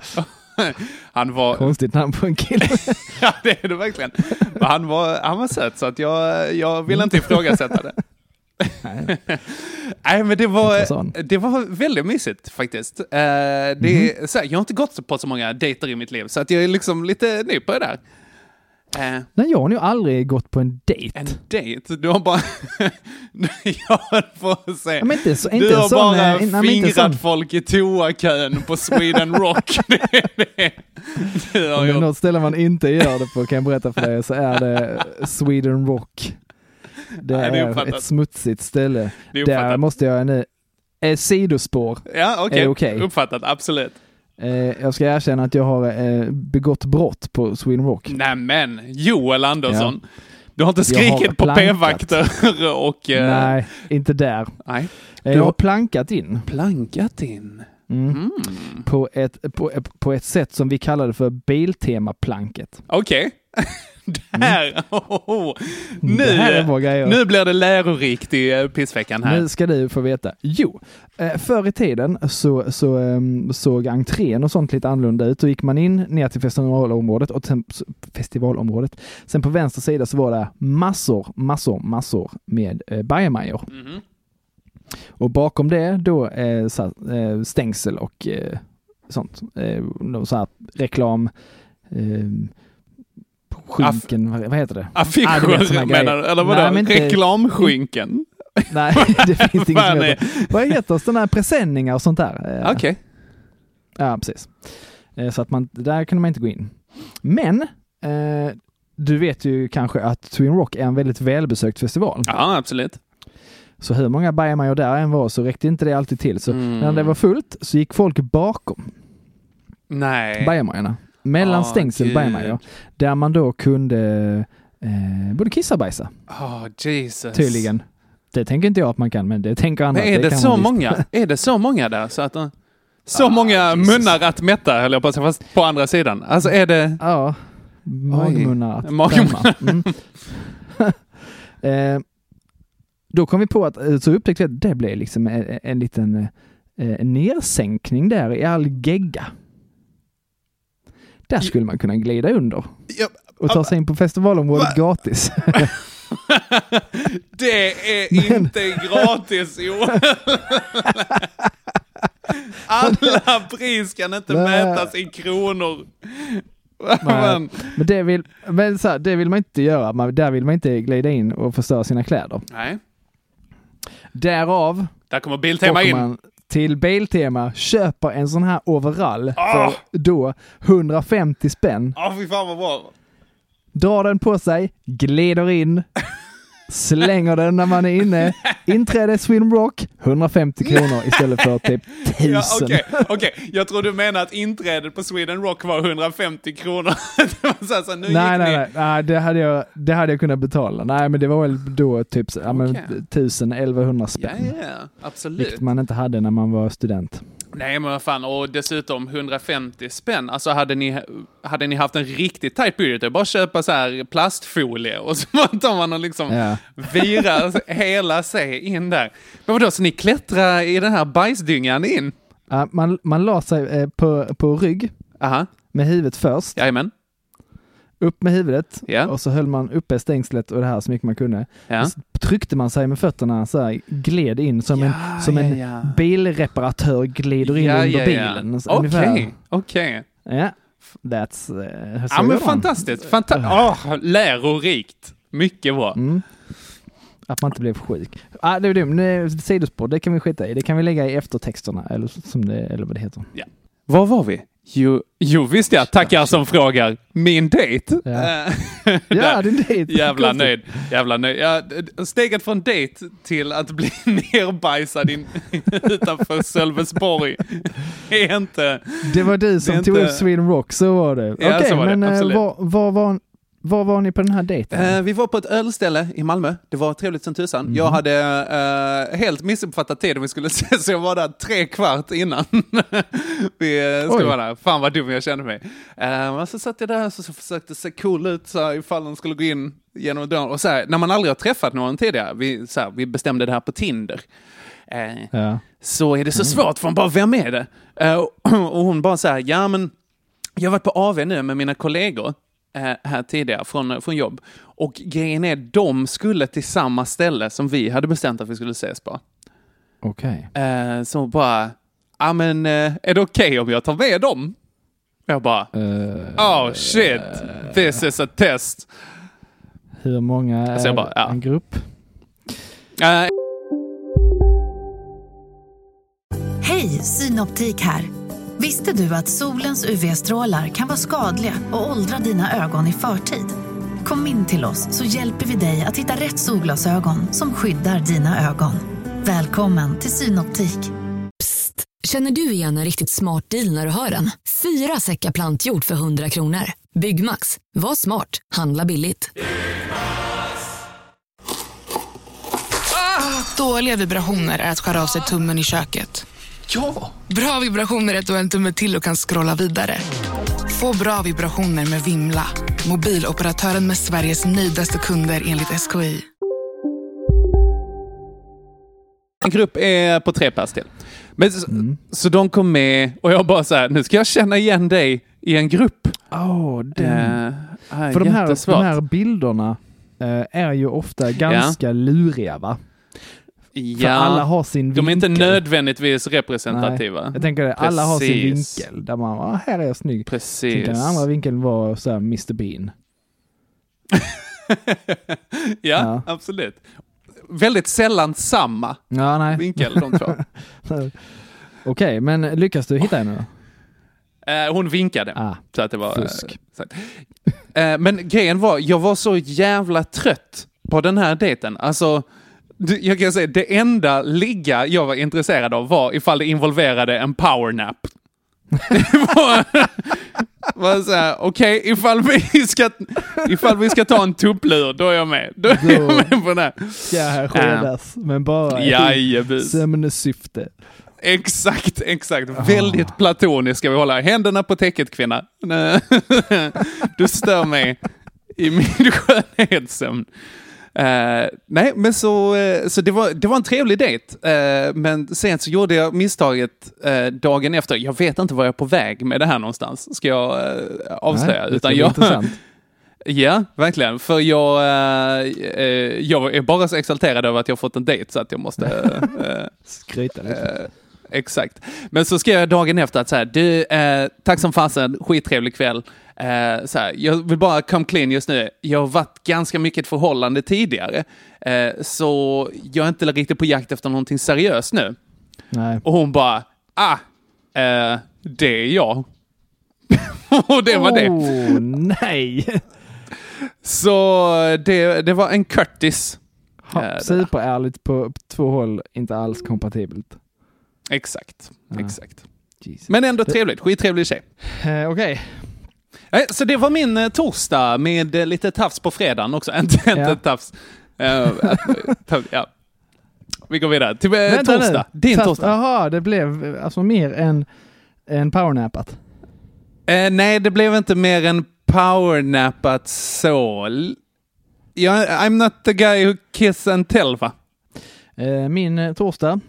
Speaker 6: han var...
Speaker 7: konstigt namn på en kille.
Speaker 6: ja, det är det verkligen. Men han, var, han var söt, så att jag, jag vill inte ifrågasätta det. Nej, men det var,
Speaker 7: Intressant.
Speaker 6: det var väldigt mysigt faktiskt. Eh, det
Speaker 7: Mhm.
Speaker 6: är, så här, jag har inte gått på så många dejter i mitt liv, så att jag är liksom lite ny på det där. Eh,
Speaker 7: Nej, jag har nog aldrig gått på en dejt.
Speaker 6: En dejt? Du har bara... jag höll på att säga.
Speaker 7: Ja, men inte så- inte
Speaker 6: du
Speaker 7: en
Speaker 6: har
Speaker 7: sån,
Speaker 6: bara
Speaker 7: eh, nej, men inte
Speaker 6: fingrat
Speaker 7: sån.
Speaker 6: folk i toakön på Sweden Rock. det är det du har
Speaker 7: Om det är
Speaker 6: gjort.
Speaker 7: något ställe man inte gör det på kan jag berätta för dig så är det Sweden Rock. Det
Speaker 6: Nej, det är
Speaker 7: är
Speaker 6: uppfattat.
Speaker 7: ett smutsigt ställe.
Speaker 6: Det är
Speaker 7: Där
Speaker 6: uppfattat.
Speaker 7: måste jag nu... Eh, sidospår.
Speaker 6: Ja, okej.
Speaker 7: Är okej?
Speaker 6: Uppfattat, absolut.
Speaker 7: Eh, jag ska erkänna att jag har eh, begått brott på Sweden Rock.
Speaker 6: Nämen, Joel Andersson. Du har inte
Speaker 7: Jag har
Speaker 6: skrikit på
Speaker 7: plankat.
Speaker 6: p-vakter och... eh,
Speaker 7: Nej, inte där.
Speaker 6: nej.
Speaker 7: Eh, jag
Speaker 6: Du har- Mm.
Speaker 7: har plankat in
Speaker 6: Plankat in.
Speaker 7: på ett, på, eh, på ett sätt som vi kallade för Biltema-planket.
Speaker 6: Okej. Där! Oh, nu,
Speaker 7: Mm. Det här är vår grej.
Speaker 6: nu blir det lärorikt i eh, pissveckan här.
Speaker 7: Nu ska du få veta. Jo, eh, förr i tiden så, så ehm, såg entrén och sånt lite annorlunda ut. Då gick man in ner till festivalområdet och sen, festivalområdet. Sen på vänster sida så var det massor, massor, massor med eh, bajamajor.
Speaker 6: Mm. Mhm.
Speaker 7: Och bakom det då eh, så här, eh, stängsel och eh, sånt. Eh, någon så här reklam... Eh, skynken, vad vad heter det? Ah, det vet
Speaker 6: Affischer
Speaker 7: såna
Speaker 6: menar du?
Speaker 7: grejer.
Speaker 6: Eller vadå?
Speaker 7: Nej, men inte-
Speaker 6: Reklamskynken?
Speaker 7: Nej, det finns inget som
Speaker 6: Fan,
Speaker 7: heter. Vad heter sådana här presenningar och sånt där? Eh,
Speaker 6: Okej.
Speaker 7: Ja, precis. Eh, Så att man, där kunde man inte gå in. Men, eh, du vet ju kanske att Twin Rock är en väldigt välbesökt festival.
Speaker 6: Ja, absolut.
Speaker 7: Så hur många bajamajor där än var så räckte inte det alltid till. Så
Speaker 6: Mm.
Speaker 7: när det var fullt så gick folk bakom
Speaker 6: Nej.
Speaker 7: bajamajorna. Mellan
Speaker 6: Eh. Ah,
Speaker 7: stängsel
Speaker 6: gud.
Speaker 7: bajamajor. Där man då kunde eh, både kissa och bajsa,
Speaker 6: Oh, Jesus.
Speaker 7: tydligen. Det tänker inte jag att man kan, men det tänker andra.
Speaker 6: Men
Speaker 7: att
Speaker 6: är det,
Speaker 7: kan
Speaker 6: så
Speaker 7: man visst.
Speaker 6: många? Är det så många där? Så, att, eh, så många munnar att mätta, höll jag på att säga, fast på andra sidan. Alltså är det...
Speaker 7: Ja, magmunnar att
Speaker 6: Magmunnar.
Speaker 7: tömma. Mm. eh, då kom vi på att, eh, så upptäckte vi att det blev liksom en, en liten eh, nedsänkning där i all gegga. Där skulle man kunna glida under
Speaker 6: Ja, ah,
Speaker 7: och ta sig in på festivalområdet gratis.
Speaker 6: det är inte gratis, jo. Alla pris kan inte
Speaker 7: Nej.
Speaker 6: mätas i kronor.
Speaker 7: Men, men, det, vill, men så här, det vill man inte göra, man, där vill man inte glida in och förstöra sina kläder.
Speaker 6: Nej,
Speaker 7: Därav
Speaker 6: där kommer Biltema in.
Speaker 7: åker man till Biltema, köper en sån här overall
Speaker 6: Ah!
Speaker 7: för då 150 spänn.
Speaker 6: Ja, fy fan vad bra.
Speaker 7: Drar den på sig, glider in, slänger den när man är inne. Inträde Sweden Rock, 150 kronor istället för typ 1000.
Speaker 6: Ja, Okej, okej. jag tror du menar att inträdet på Sweden Rock var 150 kronor. Det var så här, så här, nu
Speaker 7: Nej,
Speaker 6: gick
Speaker 7: nej,
Speaker 6: ni.
Speaker 7: nej, nej det, hade jag, det hade jag kunnat betala. Nej, men det var väl då typ så- ja, men,
Speaker 6: Okej.
Speaker 7: 1000, 1100 spänn.
Speaker 6: Ja, ja, absolut.
Speaker 7: Vilket man inte hade när man var student.
Speaker 6: Nej, men vad fan. Och dessutom 150 spänn. Alltså, hade ni, hade ni haft en riktigt tight budget, det är bara att köpa så här plastfolie och så tar man och liksom
Speaker 7: Ja.
Speaker 6: virar hela sig in där. Men vadå, så ni klättrar i den här bajsdyngan in?
Speaker 7: Ja, Ah, man, man la sig eh, på, på rygg
Speaker 6: Aha,
Speaker 7: med huvudet först.
Speaker 6: jajamän.
Speaker 7: upp med huvudet
Speaker 6: Ja.
Speaker 7: och så höll man uppe stängslet och det här så mycket man kunde.
Speaker 6: Ja.
Speaker 7: Så tryckte man sig med fötterna så här, gled in som
Speaker 6: Ja,
Speaker 7: en, som
Speaker 6: ja,
Speaker 7: en
Speaker 6: ja.
Speaker 7: bilreparatör glider in
Speaker 6: Ja,
Speaker 7: under
Speaker 6: ja, ja.
Speaker 7: bilen. så
Speaker 6: Okej,
Speaker 7: ungefär.
Speaker 6: okej.
Speaker 7: Ja, that's... Uh,
Speaker 6: Ja, men fantastiskt. Fanta Åh, lärorikt. Mycket bra.
Speaker 7: Att man inte blev sjuk. Ah, det är dumt, Nu, sidospår, det kan vi skita i. Det kan vi lägga i eftertexterna eller, som det, eller vad det heter.
Speaker 6: Var var vi? Jo, jo visst ja, tackar som frågar. Min dejt.
Speaker 7: Ja.
Speaker 6: Eh,
Speaker 7: Ja,
Speaker 6: där.
Speaker 7: det är det.
Speaker 6: Jävla
Speaker 7: Konstigt.
Speaker 6: nöjd. Jävla nöjd. Ja, d- d- steget från dejt till att bli nerbajsad in, utanför Sölvesborg är inte...
Speaker 7: Det var du som
Speaker 6: Det är
Speaker 7: tog
Speaker 6: inte-
Speaker 7: upp Sweden Rock, så var det. Okej,
Speaker 6: så var det,
Speaker 7: men eh,
Speaker 6: absolut.
Speaker 7: var, var, var, var var ni på den här dejten?
Speaker 6: Eh, vi var på ett ölställe i Malmö. Det var trevligt som tusan. Jag hade eh, helt missuppfattat tiden vi skulle ses, så jag var där tre kvart innan vi eh,
Speaker 7: Oj.
Speaker 6: skulle vara där. Fan vad dum jag kände mig. Eh, och så satt jag där och så, så försökte se cool ut så här, ifall de skulle gå in genom dörren. Och så här, när man aldrig har träffat någon tidigare, vi, så här, vi bestämde det här på Tinder. Eh,
Speaker 7: Ja. Mm.
Speaker 6: så är det så svårt för hon bara, vem är det? Eh, och hon bara så här, ja men jag har varit på AV nu med mina kollegor eh, här tidigare från, från jobb. Och grejen är, de skulle till samma ställe som vi hade bestämt att vi skulle ses på.
Speaker 7: Okej.
Speaker 6: Eh, så hon bara, ja men eh, är det okej om jag tar med dem? Jag bara,
Speaker 7: Eh.
Speaker 6: oh shit, this is a test.
Speaker 7: Hur många är
Speaker 6: Alltså jag bara, ja.
Speaker 7: en grupp?
Speaker 6: Eh,
Speaker 8: Hej, Synoptik här. Visste du att solens UV-strålar kan vara skadliga och åldra dina ögon i förtid? Kom in till oss så hjälper vi dig att hitta rätt solglasögon som skyddar dina ögon. Välkommen till Synoptik.
Speaker 9: Känner du igen en riktigt smart deal när du hör den? Fyra säckar plantjord för 100 kronor. Byggmax. Var smart. Handla billigt.
Speaker 10: Ah, Dåliga vibrationer är att skära av sig tummen i köket. Ja! Bra vibrationer är att du har en tumme till och kan scrolla vidare. Få bra vibrationer med Vimla. Mobiloperatören med Sveriges nöjdaste kunder enligt SKI.
Speaker 6: En grupp är på tre pers till. Men, så,
Speaker 7: Mm.
Speaker 6: så de kom med och jag bara så här, nu ska jag känna igen dig i en grupp.
Speaker 7: Oh, den.
Speaker 6: Eh,
Speaker 7: För de här,
Speaker 6: jättesvårt.
Speaker 7: de här bilderna eh, är ju ofta ganska luriga va? För
Speaker 6: ja,
Speaker 7: alla har sin vinkel.
Speaker 6: de är inte nödvändigtvis
Speaker 7: Nej,
Speaker 6: representativa.
Speaker 7: Jag tänker det, alla har sin
Speaker 6: Precis.
Speaker 7: vinkel. Där man, ah, här är jag snygg. Sen
Speaker 6: Precis.
Speaker 7: kan den andra vinkeln vara så här Mr Bean.
Speaker 6: ja, absolut. väldigt sällan samma
Speaker 7: Ja, nej.
Speaker 6: vinkel de två.
Speaker 7: Okej, men lyckas du hitta henne då?
Speaker 6: Eh, hon vinkade.
Speaker 7: Ah.
Speaker 6: så att det var...
Speaker 7: fusk.
Speaker 6: Eh, så- eh, men grejen var, jag var så jävla trött på den här dejten. Alltså, du, jag kan säga det enda ligga jag var intresserad av var ifall det involverade en powernap. Det var, var så här, okej, ifall, vi ska, ifall vi ska ta en tupplur, då är jag med. Då är jag med på den här.
Speaker 7: Ska här skedas, men bara i
Speaker 6: Ah. Jajebus.
Speaker 7: sömnsyfte.
Speaker 6: Exakt, exakt.
Speaker 7: Ah.
Speaker 6: Väldigt platoniskt ska vi hålla. Händerna på täcket kvinna. Nej. Du stör mig i min skönhetssömn. Eh, nej, men så, eh, så det, var, det var en trevlig dejt. Eh, men sen så gjorde jag misstaget eh, dagen efter. Jag vet inte var jag är på väg med det här någonstans, ska jag eh, avslöja.
Speaker 7: Nej, det ska
Speaker 6: Utan
Speaker 7: bli
Speaker 6: jag,
Speaker 7: intressant.
Speaker 6: Ja, verkligen. För jag, eh, eh, jag är bara så exalterad över att jag fått en dejt så att jag måste... Eh,
Speaker 7: Skryta
Speaker 6: eh, Exakt. Men så skrev jag dagen efter att så här, du, eh, tack som fasen, skittrevlig kväll. Eh, så här, jag vill bara come clean just nu. Jag har varit ganska mycket i ett förhållande tidigare. Eh, så jag är inte riktigt på jakt efter någonting seriöst nu.
Speaker 7: Nej.
Speaker 6: Och hon bara, ah, eh, det är jag. och det var det.
Speaker 7: Åh, nej!
Speaker 6: Så det, det var en Curtis. Eh,
Speaker 7: Ha, superärligt på två håll, inte alls kompatibelt.
Speaker 6: Exakt,
Speaker 7: Ja.
Speaker 6: exakt. Men ändå trevligt, skittrevlig tjej.
Speaker 7: Eh, Okej.
Speaker 6: Eh, Så det var min eh, torsdag med eh, lite tafs på fredagen också. Inte, inte tafs. Eh, taf- ja. Vi går vidare. Till eh,
Speaker 7: Vänta nu.
Speaker 6: torsdag. Din
Speaker 7: Fast-
Speaker 6: torsdag.
Speaker 7: Jaha, det blev alltså mer än, än powernapat.
Speaker 6: Eh, nej, det blev inte mer än powernappat så. L- Jag, I'm not the guy who kiss and tell, va?
Speaker 7: Eh, Min eh, torsdag,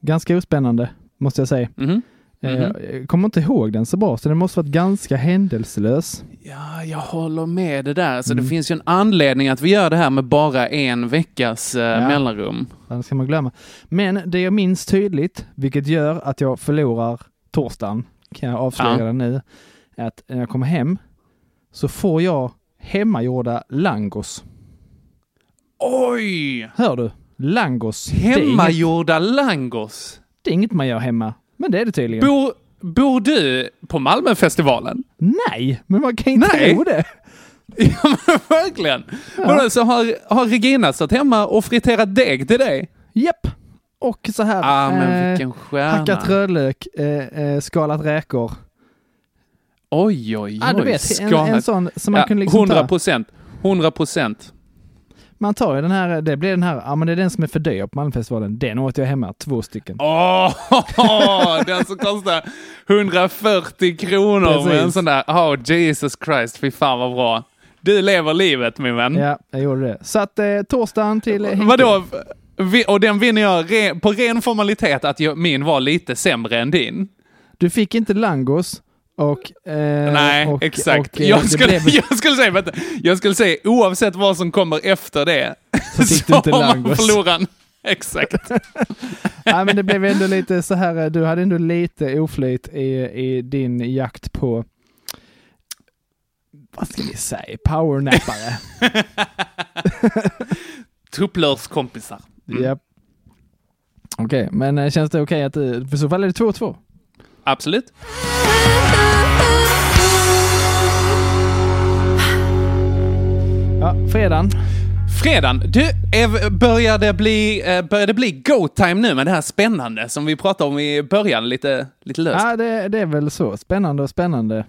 Speaker 7: ganska ospännande måste jag säga. Eh,
Speaker 6: Mhm.
Speaker 7: Jag kommer inte ihåg den så bra, så den måste varit ganska händelselös.
Speaker 6: Ja, jag håller med det där. Så det finns ju en anledning att vi gör det här med bara en veckas eh,
Speaker 7: Ja.
Speaker 6: mellanrum.
Speaker 7: Den ska man glömma. Men det jag minns tydligt, vilket gör att jag förlorar torsdagen, kan jag avslöja
Speaker 6: Ja.
Speaker 7: det nu, är att när jag kommer hem så får jag hemmagjorda langos.
Speaker 6: Oj!
Speaker 7: Hör du? Langos. Det är inget-
Speaker 6: Hemmagjorda langos.
Speaker 7: Det är inget man gör hemma, men det är det tydligen.
Speaker 6: Bor, bor du på Malmöfestivalen?
Speaker 7: Nej, men man kan inte
Speaker 6: Nej.
Speaker 7: tro det.
Speaker 6: Verkligen! Vadå, Så har, har Regina stått hemma och friterat deg till dig?
Speaker 7: Japp! Och så här.
Speaker 6: Ah, men
Speaker 7: eh,
Speaker 6: vilken stjärna.
Speaker 7: Hackat rödlök, eh, eh, skalat räkor.
Speaker 6: Oj, oj, oj.
Speaker 7: Ja, du vet, en- en sån som man kunde liksom ta.
Speaker 6: 100 procent. 100 procent.
Speaker 7: Man tar ju den här, det blir den här, ja men det är den som är för dyr på Malmfestivalen. Den åt jag hemma, två stycken.
Speaker 6: Åh, alltså den som kostar 140 kronor med
Speaker 7: Precis.
Speaker 6: en sån där. Oh, Jesus Christ, fy fan vad bra. Du lever livet min vän.
Speaker 7: Ja, jag gjorde det. Så att eh, torsdagen till...
Speaker 6: Mm. Vadå? Vi- Och den vinner jag re- på ren formalitet att jag, min var lite sämre än din.
Speaker 7: Du fick inte langos och... eh,
Speaker 6: Nej,
Speaker 7: och-
Speaker 6: exakt.
Speaker 7: och, eh, det
Speaker 6: jag, skulle,
Speaker 7: blev-
Speaker 6: jag, skulle säga, vänta, jag skulle säga oavsett vad som kommer efter det så,
Speaker 7: fick du inte
Speaker 6: har man
Speaker 7: langos.
Speaker 6: förloraren. Exakt.
Speaker 7: Nej, men det blev ändå lite så här, eh, du hade ändå lite oflyt i, i din jakt på... Vad ska vi säga? Powernappare.
Speaker 6: Tupplörs kompisar.
Speaker 7: Japp. Okej, men eh, känns det okej att du... För så fall är det 2-2.
Speaker 6: Absolut.
Speaker 7: Ja, fredagen.
Speaker 6: Fredagen. Du, Ev, börjar det bli, eh, börjar det bli go-time nu med det här spännande som vi pratade om i början lite, lite löst?
Speaker 7: Ah, Ja, det, det är väl så. Spännande och spännande.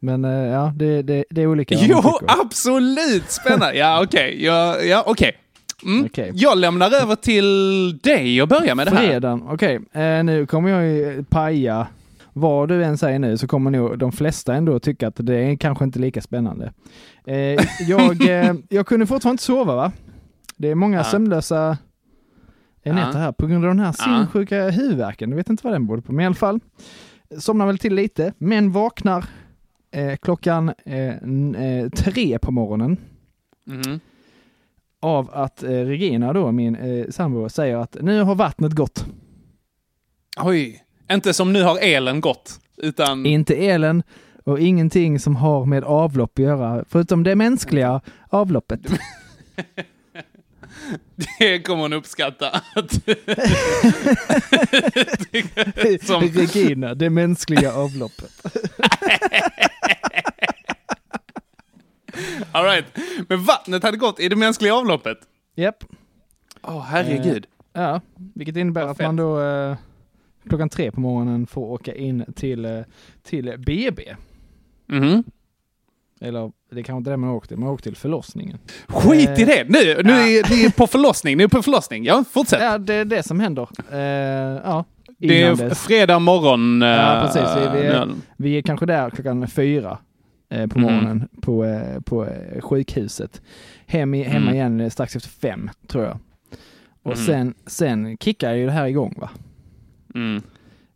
Speaker 7: Men eh, ja, det, det, det är olika. vad man
Speaker 6: Jo,
Speaker 7: tycker.
Speaker 6: absolut spännande! Ja, okej. Ja, ja, okej. Mm.
Speaker 7: Okej.
Speaker 6: Jag lämnar över till dig och börjar med det här.
Speaker 7: Fredagen, okej. Eh, nu kommer jag ju paja. Vad du än säger nu så kommer nog de flesta ändå tycka att det är kanske inte lika spännande. Eh, jag, eh, jag kunde fortfarande inte sova va? Det är många
Speaker 6: Ja.
Speaker 7: sömnlösa eh, nätter här på grund av den här sinnessjuka huvudvärken. Jag vet inte vad den beror på, men i alla fall. Somnar väl till lite, men vaknar eh, klockan eh, n- eh, tre på morgonen
Speaker 6: Mhm.
Speaker 7: av att eh, Regina då, min eh, sambo, säger att nu har vattnet gått.
Speaker 6: Oj. Inte som nu har elen gått, utan...
Speaker 7: Inte elen och ingenting som har med avlopp att göra, förutom det mänskliga avloppet.
Speaker 6: Det kommer hon uppskatta. Som-
Speaker 7: Regina, det mänskliga avloppet.
Speaker 6: All right. Men vattnet hade gått i det mänskliga avloppet.
Speaker 7: Japp.
Speaker 6: Åh, herregud.
Speaker 7: Eh, ja, vilket innebär att man då eh, klockan tre på morgonen får åka in till, eh, till BB.
Speaker 6: Mhm.
Speaker 7: Eller det kanske inte är det man åkte till, man åkte till förlossningen.
Speaker 6: Skit i
Speaker 7: Eh,
Speaker 6: det! Nu, nu är ni på förlossning, ni är på förlossning. Ja, fortsätt.
Speaker 7: Ja, det är det som händer. Eh, ja,
Speaker 6: det är
Speaker 7: innan
Speaker 6: f-
Speaker 7: dess.
Speaker 6: fredag morgon.
Speaker 7: Ja,
Speaker 6: eh,
Speaker 7: precis. Vi, vi, är,
Speaker 6: nu.
Speaker 7: vi är kanske där klockan fyra eh, på
Speaker 6: Mm.
Speaker 7: morgonen på, eh, på eh, sjukhuset. Hem i, hemma
Speaker 6: Mm.
Speaker 7: igen eh, strax efter fem, tror jag. Och
Speaker 6: Mm.
Speaker 7: sen, sen kickar ju det här igång, va?
Speaker 6: Mm.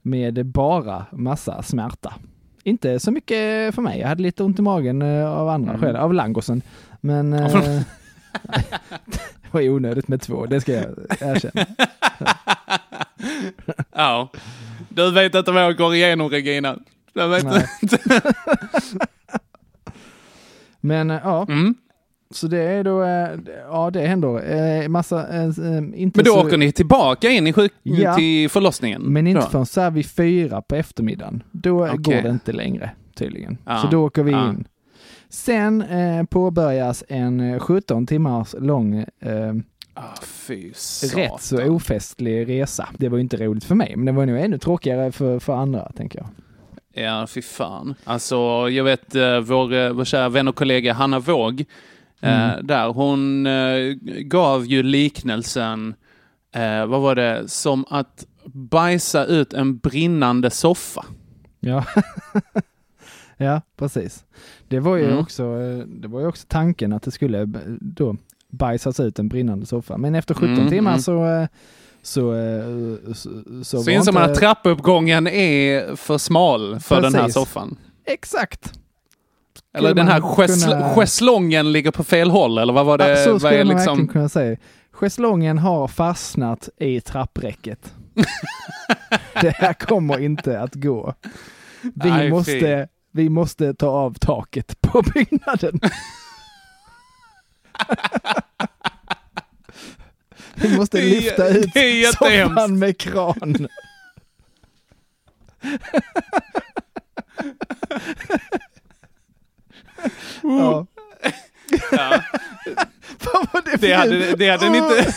Speaker 7: Med bara massa smärta. Inte så mycket för mig. Jag hade lite ont i magen eh, av andra
Speaker 6: Mm.
Speaker 7: skäl, av langosen. Men...
Speaker 6: Ja,
Speaker 7: eh,
Speaker 6: förlåt.
Speaker 7: Det var ju onödigt med två, det ska jag erkänna.
Speaker 6: Ja. Du vet inte vad jag går igenom, Regina. Jag vet
Speaker 7: Nej.
Speaker 6: inte.
Speaker 7: Men eh, ja.
Speaker 6: Mm.
Speaker 7: Så det är då, eh, d- ja det händer. Eh, Massa, eh, s- eh, inte
Speaker 6: Men då
Speaker 7: så,
Speaker 6: åker ni tillbaka in i sjuk...
Speaker 7: Ja.
Speaker 6: till förlossningen?
Speaker 7: Men inte
Speaker 6: då.
Speaker 7: förrän så här vid fyra på eftermiddagen. Då eh,
Speaker 6: Okej. Ah.
Speaker 7: går det inte längre tydligen.
Speaker 6: Ja.
Speaker 7: Så då åker vi
Speaker 6: Ja.
Speaker 7: in. Sen eh, påbörjas en eh, 17 timmars lång eh,
Speaker 6: Ah, Fy satan.
Speaker 7: rätt så ofestlig resa. Det var ju inte roligt för mig, men det var nog ännu tråkigare för, för andra, tänker jag.
Speaker 6: Ja, fy fan. Alltså, jag vet eh, vår, eh, vår kära vän och kollega Hanna Våg, eh,
Speaker 7: Mm.
Speaker 6: där, hon eh, gav ju liknelsen, eh, vad var det, som att bajsa ut en brinnande soffa.
Speaker 7: Ja, ja precis. Det var, ju
Speaker 6: Mm.
Speaker 7: också, eh, det var ju också tanken att det skulle b- då bajsas ut en brinnande soffa. Men efter 17
Speaker 6: Mm,
Speaker 7: timmar
Speaker 6: mm.
Speaker 7: så, eh, så, eh, så, så
Speaker 6: Så inser man att trappuppgången är för smal för den här
Speaker 7: Precis.
Speaker 6: soffan.
Speaker 7: Exakt.
Speaker 6: Eller
Speaker 7: Skulle
Speaker 6: den här
Speaker 7: man
Speaker 6: schäsl-
Speaker 7: kunna-
Speaker 6: schäslongen ligger på fel håll, eller vad var det?
Speaker 7: Ja, så
Speaker 6: vad
Speaker 7: skulle
Speaker 6: är
Speaker 7: man
Speaker 6: liksom-
Speaker 7: verkligen kunna säga. Schäslongen har fastnat i trappräcket. det här kommer inte att gå. Vi,
Speaker 6: Nej, fy.
Speaker 7: måste, vi måste ta av taket på byggnaden. vi måste
Speaker 6: Det är-
Speaker 7: lyfta ut
Speaker 6: det är jättehemskt.
Speaker 7: soffan med kran. ja.
Speaker 6: Ja.
Speaker 7: Vad var det för
Speaker 6: Oh. Det hade-
Speaker 7: ljud?
Speaker 6: det hade ni inte-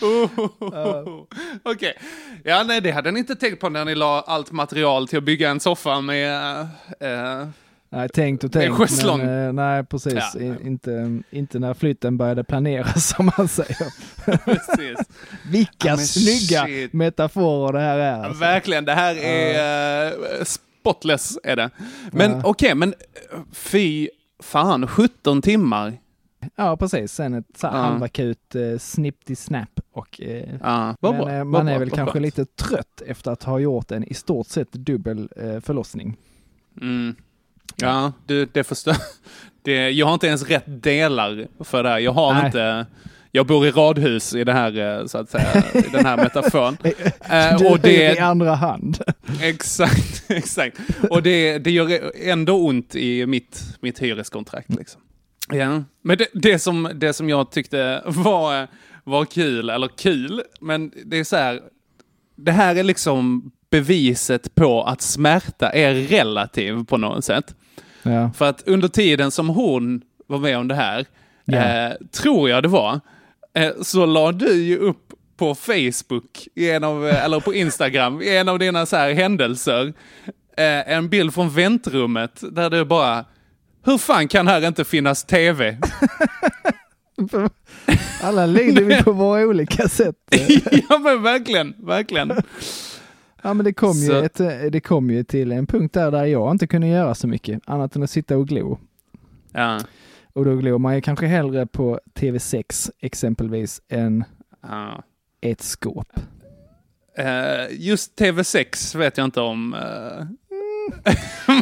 Speaker 6: Oh. Okej. Ja, nej, det hade ni inte tänkt på när ni la allt material till att bygga en soffa med... eh,
Speaker 7: Nej, tänkt och
Speaker 6: Det är
Speaker 7: tänkt.
Speaker 6: schäslong.
Speaker 7: Men, eh, nej, precis.
Speaker 6: Ja.
Speaker 7: I, inte, inte när flytten började planeras, som man säger.
Speaker 6: precis.
Speaker 7: Vilka
Speaker 6: Ja, men
Speaker 7: snygga
Speaker 6: shit.
Speaker 7: metaforer det här är. alltså.
Speaker 6: Verkligen, det här är eh, spotless är det. Men
Speaker 7: Ja.
Speaker 6: okej, men eh, fy fan, 17 timmar.
Speaker 7: Ja, precis. Sen ett så här
Speaker 6: Ja.
Speaker 7: halvakut eh, snippty-snap. Och, eh,
Speaker 6: Ja, vad
Speaker 7: men
Speaker 6: bra,
Speaker 7: eh,
Speaker 6: vad
Speaker 7: man
Speaker 6: bra,
Speaker 7: är väl
Speaker 6: vad
Speaker 7: kanske
Speaker 6: skönt.
Speaker 7: lite trött efter att ha gjort en i stort sett dubbel eh, förlossning.
Speaker 6: Mm. Ja, du, det förstår det, Jag har inte ens rätt delar för det här. Jag har
Speaker 7: Nej.
Speaker 6: inte... Jag bor i radhus i det här, eh, så att säga, i den här metaforen. Eh,
Speaker 7: du
Speaker 6: och det-
Speaker 7: i andra hand.
Speaker 6: Exakt, exakt. Och det, det gör ändå ont i mitt, mitt hyreskontrakt. Liksom. Ja. Men det, det, som, det som jag tyckte var, var kul, eller kul, men det är så här, det här är liksom beviset på att smärta är relativ på något sätt.
Speaker 7: Ja.
Speaker 6: För att under tiden som hon var med om det här, eh, tror jag det var, eh, så la du ju upp på Facebook, i en av, eh, eller på Instagram, i en av dina så här händelser, eh, en bild från väntrummet där du bara, hur fan kan här inte finnas tv?
Speaker 7: Alla lider vi på våra olika sätt.
Speaker 6: ja men verkligen, verkligen.
Speaker 7: Ja men det kom, ju
Speaker 6: Så-
Speaker 7: ett, eh, det kom ju till en punkt där, där jag inte kunde göra så mycket annat än att sitta och glo.
Speaker 6: Ja.
Speaker 7: Och då glor man ju kanske hellre på TV6 exempelvis än
Speaker 6: Ja.
Speaker 7: ett skåp.
Speaker 6: Eh, just TV6 vet jag inte om. eh.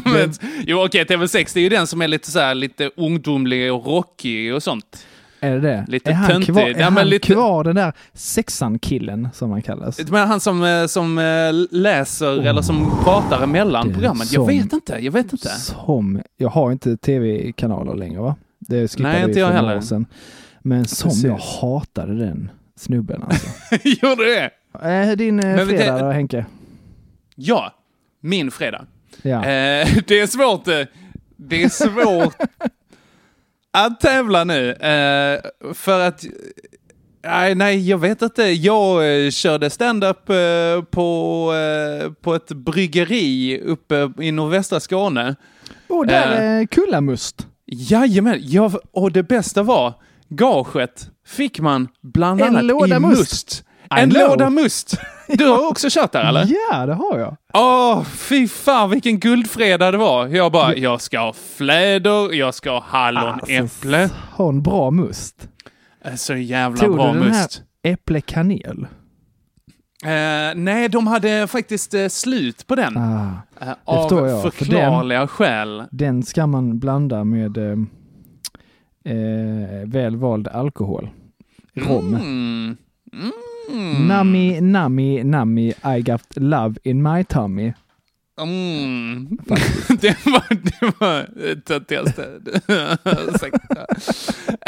Speaker 6: men, jo, okej, TV6 det är ju den som är lite så här, lite ungdomlig och rockig och sånt.
Speaker 7: Är det det?
Speaker 6: Lite
Speaker 7: är han
Speaker 6: töntig.
Speaker 7: kvar, är
Speaker 6: Ja, men
Speaker 7: han
Speaker 6: lite-
Speaker 7: kvar den där sexan-killen som han kallas?
Speaker 6: Men han som, eh, som eh, läser eller som pratar emellan programmen. Jag
Speaker 7: som-
Speaker 6: vet inte, jag vet inte.
Speaker 7: Som, jag har inte tv-kanaler längre va? Det skippade
Speaker 6: Nej,
Speaker 7: vi
Speaker 6: inte
Speaker 7: för
Speaker 6: jag
Speaker 7: några
Speaker 6: heller.
Speaker 7: år sedan. Men som
Speaker 6: Precis.
Speaker 7: jag hatade den snubben alltså.
Speaker 6: Gjorde det?
Speaker 7: Eh, Din eh,
Speaker 6: Men vi
Speaker 7: fredag
Speaker 6: tän-
Speaker 7: då Henke?
Speaker 6: Ja, min fredag.
Speaker 7: Ja.
Speaker 6: Eh, det är svårt. eh, Det är svårt att tävla nu. Eh, för att... Nej, nej, jag vet inte. Jag eh, körde stand-up eh, på, eh, på ett bryggeri uppe i nordvästra Skåne.
Speaker 7: Och där eh, Kullamust.
Speaker 6: Jajamän, jag, och det bästa var gaget fick man bland
Speaker 7: En
Speaker 6: annat
Speaker 7: låda
Speaker 6: i
Speaker 7: must.
Speaker 6: must.
Speaker 7: I
Speaker 6: En
Speaker 7: know.
Speaker 6: låda must. Du har också kört där eller?
Speaker 7: Ja, det har jag.
Speaker 6: Åh, fy fan vilken guldfredag det var. Jag bara,
Speaker 7: Mm.
Speaker 6: jag ska ha fläder, jag ska ha
Speaker 7: Ah,
Speaker 6: hallonäpple.
Speaker 7: Har en bra must.
Speaker 6: Alltså, så jävla
Speaker 7: Tog
Speaker 6: bra
Speaker 7: du den här
Speaker 6: must.
Speaker 7: äpple-kanel?
Speaker 6: Eh, nej, de hade faktiskt eh, slut på den. Eh, av
Speaker 7: Ah, förstår jag, för den-
Speaker 6: förklarliga skäl.
Speaker 7: Den ska man blanda med eh, eh, välvald alkohol. Rom.
Speaker 6: Mm.
Speaker 7: Nami, nami, nami, I got love in my tummy.
Speaker 6: Mm. det var det var det töntigaste Ursäkta.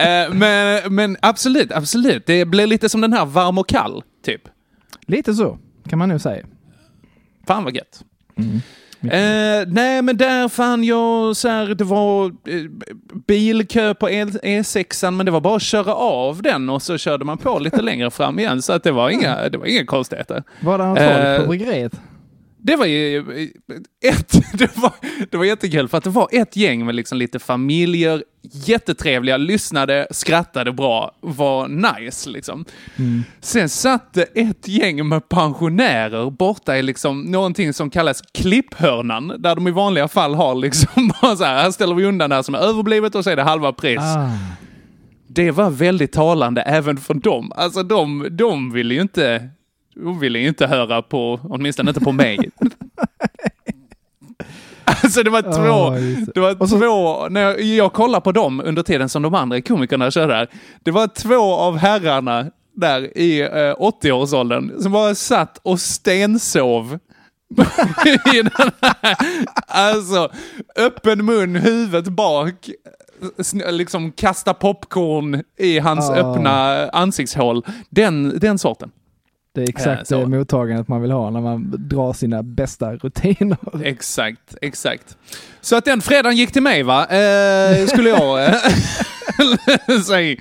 Speaker 6: Eh, men, men absolut, absolut. Det blir lite som den här varm och kall, typ.
Speaker 7: Lite så, kan man nu säga.
Speaker 6: Fan vad gött.
Speaker 7: Mm.
Speaker 6: Eh, nej, men där fann jag så här, det var eh, bilkö på E- E6, men det var bara att köra av den och så körde man på lite längre fram igen. Så att det var inga, det var inga konstigheter.
Speaker 7: Var det något folk
Speaker 6: Eh,
Speaker 7: på bryggeriet?
Speaker 6: Det var ju ett, det var, det var jättekul för att det var ett gäng med liksom lite familjer, jättetrevliga, lyssnade, skrattade bra, var nice liksom. Sen satt det ett gäng med pensionärer borta i liksom någonting som kallas klipphörnan, där de i vanliga fall har liksom bara så här, här ställer vi undan det här som är överblivet och så är det halva pris. Det var väldigt talande även för dem. Alltså de, de ville ju inte, de ville ju inte höra på, åtminstone inte på mig. Alltså det var två,
Speaker 7: Ja, just det.
Speaker 6: det var två, när jag, jag kollar på dem under tiden som de andra komikerna körde där. Det var två av herrarna där i eh, 80-årsåldern som bara satt och stensov. I den här- alltså, öppen mun, huvudet bak, sn- liksom kasta popcorn i hans
Speaker 7: Ah.
Speaker 6: öppna ansiktshål. Den, den sorten.
Speaker 7: Det är
Speaker 6: Eh,
Speaker 7: exakt
Speaker 6: så.
Speaker 7: det mottagandet man vill ha när man drar sina bästa rutiner.
Speaker 6: Eh. Exakt, exakt. Så att den fredagen gick till mig va, eh, skulle jag eh, säga.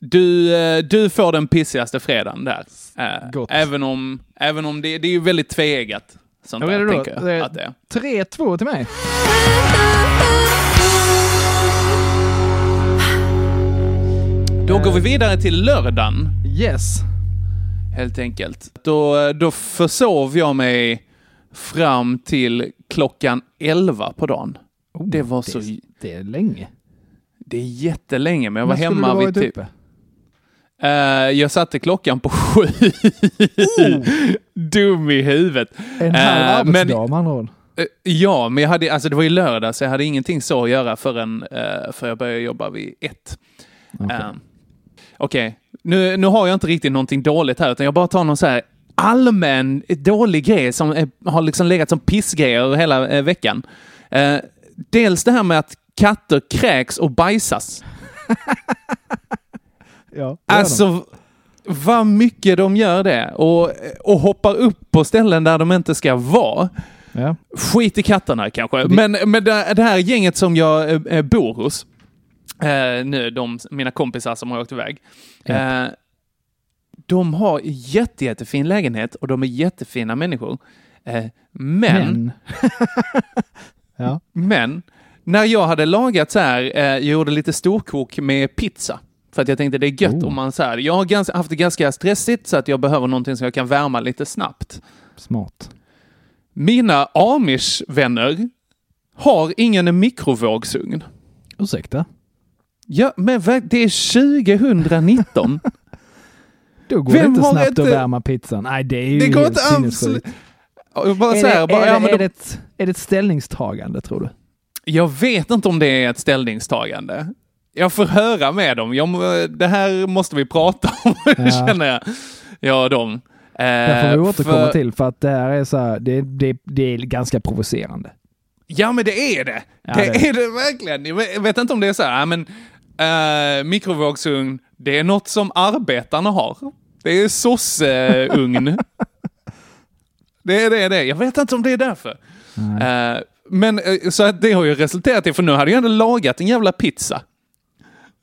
Speaker 6: Du, eh, du får den pissigaste fredagen där. Eh, Även om, även om det, det är ju väldigt tveeggat. Sånt
Speaker 7: Jag är
Speaker 6: där,
Speaker 7: redo.
Speaker 6: tänker jag att det är.
Speaker 7: 3-2 till mig.
Speaker 6: Då går vi vidare till lördagen.
Speaker 7: Yes.
Speaker 6: Helt enkelt. Då, då försov jag mig fram till klockan 11 på dagen. det var så...
Speaker 7: Oh, Det är länge.
Speaker 6: Det är jättelänge, men jag var
Speaker 7: När skulle
Speaker 6: hemma
Speaker 7: du
Speaker 6: vid
Speaker 7: varit
Speaker 6: typ...
Speaker 7: uppe?
Speaker 6: Eh, jag satte klockan på sju. Dum i huvudet.
Speaker 7: Oh! En halv
Speaker 6: Eh, men-
Speaker 7: arbetsdag med andra ord.
Speaker 6: Eh, Ja, men jag hade, alltså det var ju lördag så jag hade ingenting så att göra förrän eh, för jag började jobba vid ett. Okej, nu, nu har jag inte riktigt någonting dåligt här utan jag bara tar någon så här allmän dålig grej som eh, har liksom legat som pissgrejer hela eh, veckan. Eh, dels det här med att katter kräks och bajsas.
Speaker 7: Ja,
Speaker 6: Alltså, vad mycket de gör det och, och hoppar upp på ställen där de inte ska vara.
Speaker 7: Ja.
Speaker 6: Skit i katterna kanske, men, men det, det här gänget som jag eh, eh, bor hos, eh, nu, de, mina kompisar som har åkt iväg, eh, de har jätte, jättefin lägenhet och de är jättefina människor. Eh, men
Speaker 7: Ja.
Speaker 6: men när jag hade lagat så här, eh, jag gjorde lite storkok med pizza. För att jag tänkte det är gött om man så här, jag har ganska, haft det ganska stressigt så att jag behöver någonting som jag kan värma lite snabbt.
Speaker 7: Smart.
Speaker 6: Mina amish-vänner har ingen mikrovågsugn.
Speaker 7: Ursäkta?
Speaker 6: Ja, men vad- det är 2019.
Speaker 7: Då går det
Speaker 6: Vem
Speaker 7: inte
Speaker 6: har
Speaker 7: snabbt
Speaker 6: ett-
Speaker 7: att värma pizzan. Nej, det är ju
Speaker 6: Det går
Speaker 7: helt
Speaker 6: inte alls.
Speaker 7: sinnessjukt.
Speaker 6: Och bara
Speaker 7: Är
Speaker 6: så här,
Speaker 7: det-
Speaker 6: bara,
Speaker 7: är
Speaker 6: ja,
Speaker 7: det-
Speaker 6: men
Speaker 7: är
Speaker 6: de-
Speaker 7: det ett- Är det ett ställningstagande tror du?
Speaker 6: Jag vet inte om det är ett ställningstagande. Jag får höra med dem. Jag, må- det här måste vi prata om, känner jag. Ja, dem. Eh,
Speaker 7: Det får vi återkomma
Speaker 6: för-
Speaker 7: till för att det här är så här, det, det, det är ganska provocerande.
Speaker 6: Ja, men det är det.
Speaker 7: Ja,
Speaker 6: det,
Speaker 7: det-
Speaker 6: är det verkligen. Jag vet- jag vet inte om det är så här, ja, men eh, mikrovågsugn, det är något som arbetarna har. Det är sosseugn. det är det, det. är. Jag vet inte om det är därför. Eh, men eh, så att det har ju resulterat i, för nu hade jag ändå lagat en jävla pizza.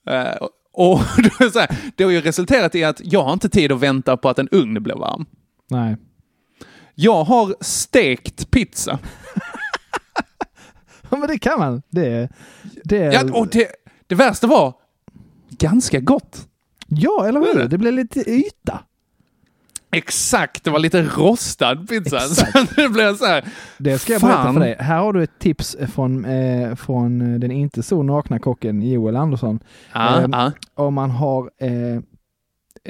Speaker 6: Eh, och då är det så här, det har ju resulterat i att jag har inte tid att vänta på att en ugn blir varm.
Speaker 7: Nej.
Speaker 6: Jag har stekt pizza.
Speaker 7: Ja, men det kan man. Det är... Det är...
Speaker 6: Ja, och det, det värsta var ganska gott.
Speaker 7: Ja, eller
Speaker 6: Mm.
Speaker 7: hur? Det blev lite yta.
Speaker 6: Exakt, det var lite rostad pizza. Så att det blev så här.
Speaker 7: Det ska jag berätta för dig. Här har du ett tips från, eh, från den inte så nakna kocken Joel Andersson.
Speaker 6: Ja,
Speaker 7: Ehm,
Speaker 6: ja.
Speaker 7: Om man har eh,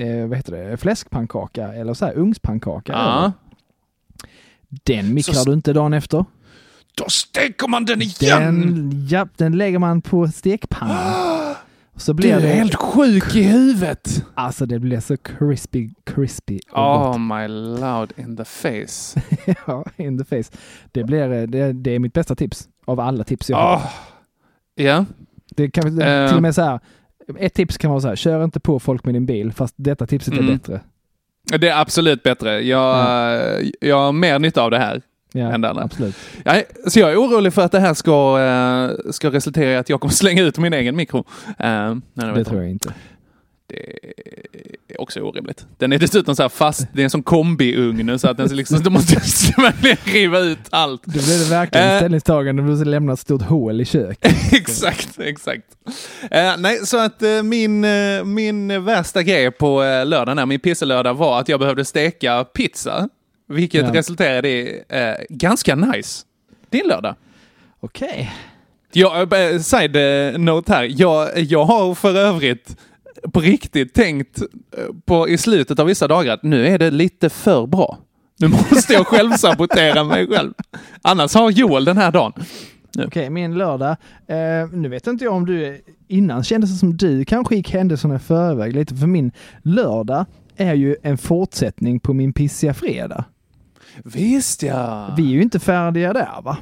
Speaker 7: eh, vad heter det? fläskpannkaka eller så här ugnspannkaka.
Speaker 6: Ja.
Speaker 7: Den mikrar
Speaker 6: Så-
Speaker 7: du inte dagen efter.
Speaker 6: Då steker man den igen!
Speaker 7: Den, ja, den lägger man på stekpannan. Och Så blir
Speaker 6: Du är
Speaker 7: det,
Speaker 6: helt sjuk i huvudet!
Speaker 7: Alltså det blir så crispy, crispy och gott.
Speaker 6: Oh my loud in the face.
Speaker 7: ja, in the face. Det, blir, eh, det, det är mitt bästa tips av alla tips jag
Speaker 6: har. Oh. Ja.
Speaker 7: Det kan vi,
Speaker 6: Eh.
Speaker 7: till och med så här, ett tips kan vara så här, kör inte på folk med din bil, fast detta tipset är
Speaker 6: Mm.
Speaker 7: bättre.
Speaker 6: Det är absolut bättre. Jag, jag har mer nytta av det här
Speaker 7: Ja,
Speaker 6: än det andra.
Speaker 7: absolut.
Speaker 6: Ja, så jag är orolig för att det här ska, eh, ska resultera i att jag kommer slänga ut min egen mikro. Eh, nej,
Speaker 7: Det
Speaker 6: vet
Speaker 7: tror jag inte.
Speaker 6: Det är också orimligt. Den är dessutom så här fast, det är en sån kombiugn så att den liksom, du måste verkligen riva ut allt.
Speaker 7: Då blir det verkligen
Speaker 6: Eh.
Speaker 7: ställningstagande, du måste lämna ett stort hål i köket.
Speaker 6: exakt, exakt. Eh, nej, så att eh, min, eh, min värsta grej på eh, lördagen, här, min pisselördag, var att jag behövde steka pizza. Vilket
Speaker 7: Ja.
Speaker 6: resulterade i eh, ganska nice. Din lördag.
Speaker 7: Okej.
Speaker 6: Jag, eh, side eh, note här. Jag, jag har för övrigt på riktigt tänkt eh, på i slutet av vissa dagar att nu är det lite för bra. Nu måste jag själv sabotera mig själv. Annars har Joel den här dagen.
Speaker 7: Okej, min lördag. Eh, nu vet inte jag om du, innan kändes det som du kanske gick händelserna i förväg lite, för min lördag är ju en fortsättning på min pissiga fredag.
Speaker 6: Visst ja!
Speaker 7: Vi är ju inte färdiga där va?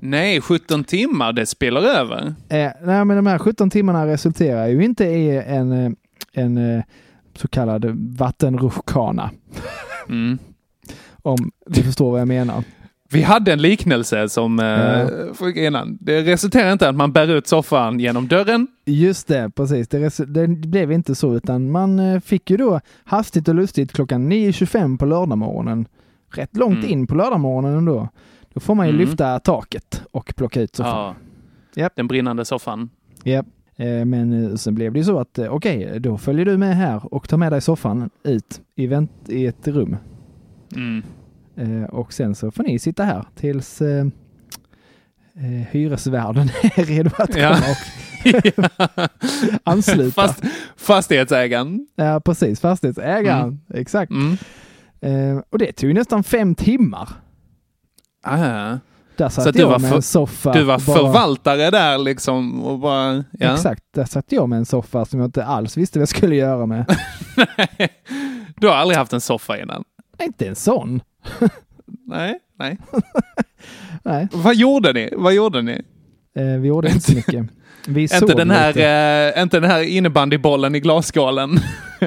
Speaker 6: Nej, 17 timmar, det spiller över.
Speaker 7: Eh, nej, men de här 17 timmarna resulterar ju inte i en, eh, en eh, så kallad vattenrutschkana.
Speaker 6: Mm.
Speaker 7: Om du förstår vad jag menar.
Speaker 6: Vi hade en liknelse som eh, folk innan. Det resulterar inte i att man bär ut soffan genom dörren.
Speaker 7: Just det, precis. Det, res- det blev inte så, utan man eh, fick ju då hastigt och lustigt klockan 9.25 på lördagmorgonen. Rätt långt
Speaker 6: Mm.
Speaker 7: in på lördagmorgonen ändå. Då får man ju
Speaker 6: Mm.
Speaker 7: lyfta taket och plocka ut soffan.
Speaker 6: Ja. Den brinnande soffan.
Speaker 7: Japp. Eh, Men eh, sen blev det ju så att eh, okej, då följer du med här och tar med dig soffan ut i, vänt- i ett rum.
Speaker 6: Mm.
Speaker 7: Eh, Och sen så får ni sitta här tills eh, eh, hyresvärden är redo att komma
Speaker 6: Ja.
Speaker 7: och ansluta.
Speaker 6: Fast, fastighetsägaren.
Speaker 7: Ja, precis. Fastighetsägaren.
Speaker 6: Mm.
Speaker 7: Exakt. Eh, Och det tog ju nästan fem timmar.
Speaker 6: Ah.
Speaker 7: Där satt
Speaker 6: att
Speaker 7: jag med en soffa,
Speaker 6: Du var
Speaker 7: bara-
Speaker 6: förvaltare där liksom och bara... Ja.
Speaker 7: Exakt. Där satt jag med en soffa som jag inte alls visste vad jag skulle göra med.
Speaker 6: Du har aldrig haft en soffa innan?
Speaker 7: inte en sån.
Speaker 6: Nej, nej.
Speaker 7: Nej.
Speaker 6: Vad gjorde ni? Vad gjorde ni?
Speaker 7: Eh, Vi gjorde inte så mycket. Vi
Speaker 6: Inte
Speaker 7: sov
Speaker 6: den, här,
Speaker 7: lite.
Speaker 6: eh, inte den här innebandybollen i glasskalen.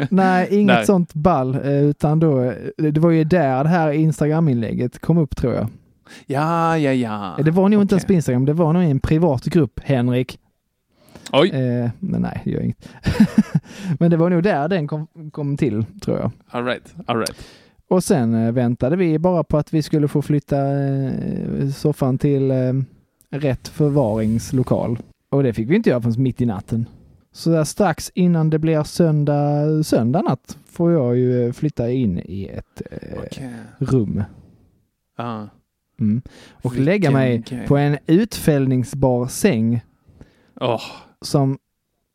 Speaker 7: Nej, inget
Speaker 6: Nej.
Speaker 7: sånt ball, eh, utan då, eh, det var ju där det här Instagram-inlägget kom upp tror jag.
Speaker 6: ja, ja, ja.
Speaker 7: Eh, Det var nog inte ens på Instagram, det var nog i en privat grupp, Henrik.
Speaker 6: Oj.
Speaker 7: Eh, men nej, det gör inget. men det var nog där den kom, kom till, tror jag.
Speaker 6: All right, all right.
Speaker 7: Och sen eh, väntade vi bara på att vi skulle få flytta eh, soffan till eh, rätt förvaringslokal. Och det fick vi inte göra förrän mitt i natten. Så där strax innan det blir söndag, söndag natt får jag ju eh, flytta in i ett eh, rum.
Speaker 6: Ja.
Speaker 7: Mm. Och
Speaker 6: Ah, Vilken
Speaker 7: lägga mig
Speaker 6: grej.
Speaker 7: på en utfällningsbar säng
Speaker 6: Åh.
Speaker 7: som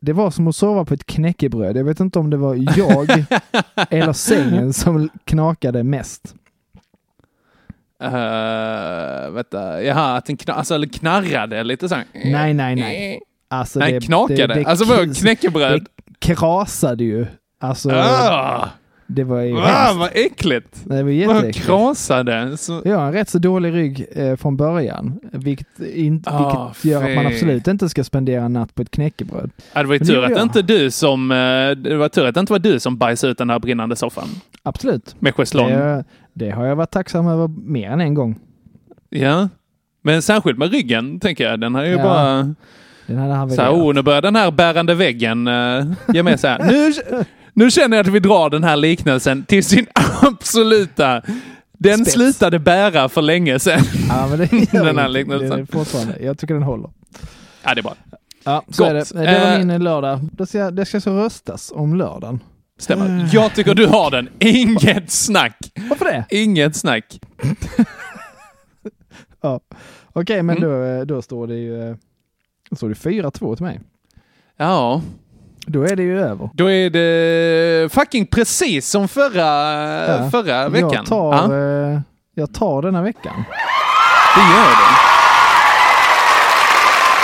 Speaker 7: det var som att sova på ett knäckebröd. Jag vet inte om det var jag eller sängen som knakade mest.
Speaker 6: Eh, vänta, jaha, att den kna- alltså, eller knarrade lite så här.
Speaker 7: Nej, nej, nej. Alltså,
Speaker 6: Nej, knakade. Alltså, vadå, knäckebröd?
Speaker 7: Det krasade ju. Alltså,
Speaker 6: Ah!
Speaker 7: Det var ju
Speaker 6: Va,
Speaker 7: hemskt.
Speaker 6: vad äckligt!
Speaker 7: Nej, det var
Speaker 6: Vad
Speaker 7: jätteäckligt.
Speaker 6: krasade! Så...
Speaker 7: Jag har en rätt så dålig rygg eh, från början, vilket, in,
Speaker 6: Ah,
Speaker 7: vilket gör att man
Speaker 6: fy.
Speaker 7: absolut inte ska spendera en natt på ett knäckebröd.
Speaker 6: Ja, det var ju
Speaker 7: Men
Speaker 6: tur
Speaker 7: gjorde
Speaker 6: att det
Speaker 7: jag.
Speaker 6: inte du som... eh, Det var tur att det inte var du som bajsade ut den här brinnande soffan.
Speaker 7: Absolut.
Speaker 6: Med schäslong.
Speaker 7: Det, det har jag varit tacksam över mer än en gång.
Speaker 6: Ja. Men särskilt med ryggen, tänker jag. Den har ju
Speaker 7: Ja.
Speaker 6: bara...
Speaker 7: Den hade han
Speaker 6: Så här,
Speaker 7: velat.
Speaker 6: oh, nu börjar den här bärande väggen uh, ge med sig. här. Nu, nu känner jag att vi drar den här liknelsen till sin absoluta... Den
Speaker 7: Spets.
Speaker 6: slutade bära för länge sedan.
Speaker 7: Ja, men det gör
Speaker 6: den här
Speaker 7: ingenting. Det är
Speaker 6: liknelsen.
Speaker 7: fortfarande. Jag tycker den håller.
Speaker 6: Ja, det är bra.
Speaker 7: Ja, Så är
Speaker 6: Gott.
Speaker 7: det. det var
Speaker 6: Eh,
Speaker 7: min lördag. Det ska, det ska så röstas om lördagen.
Speaker 6: Stämmer. Jag tycker du har den. Inget snack.
Speaker 7: Varför det?
Speaker 6: Inget snack.
Speaker 7: Ja. Okej, men
Speaker 6: Mm.
Speaker 7: då, eh, då står det ju eh, då står det 4-2 till mig.
Speaker 6: Ja.
Speaker 7: Då är det ju över.
Speaker 6: Då är det fucking precis som förra,
Speaker 7: Ja.
Speaker 6: förra veckan.
Speaker 7: Jag tar,
Speaker 6: Ja,
Speaker 7: eh, jag tar denna veckan.
Speaker 6: det gör det.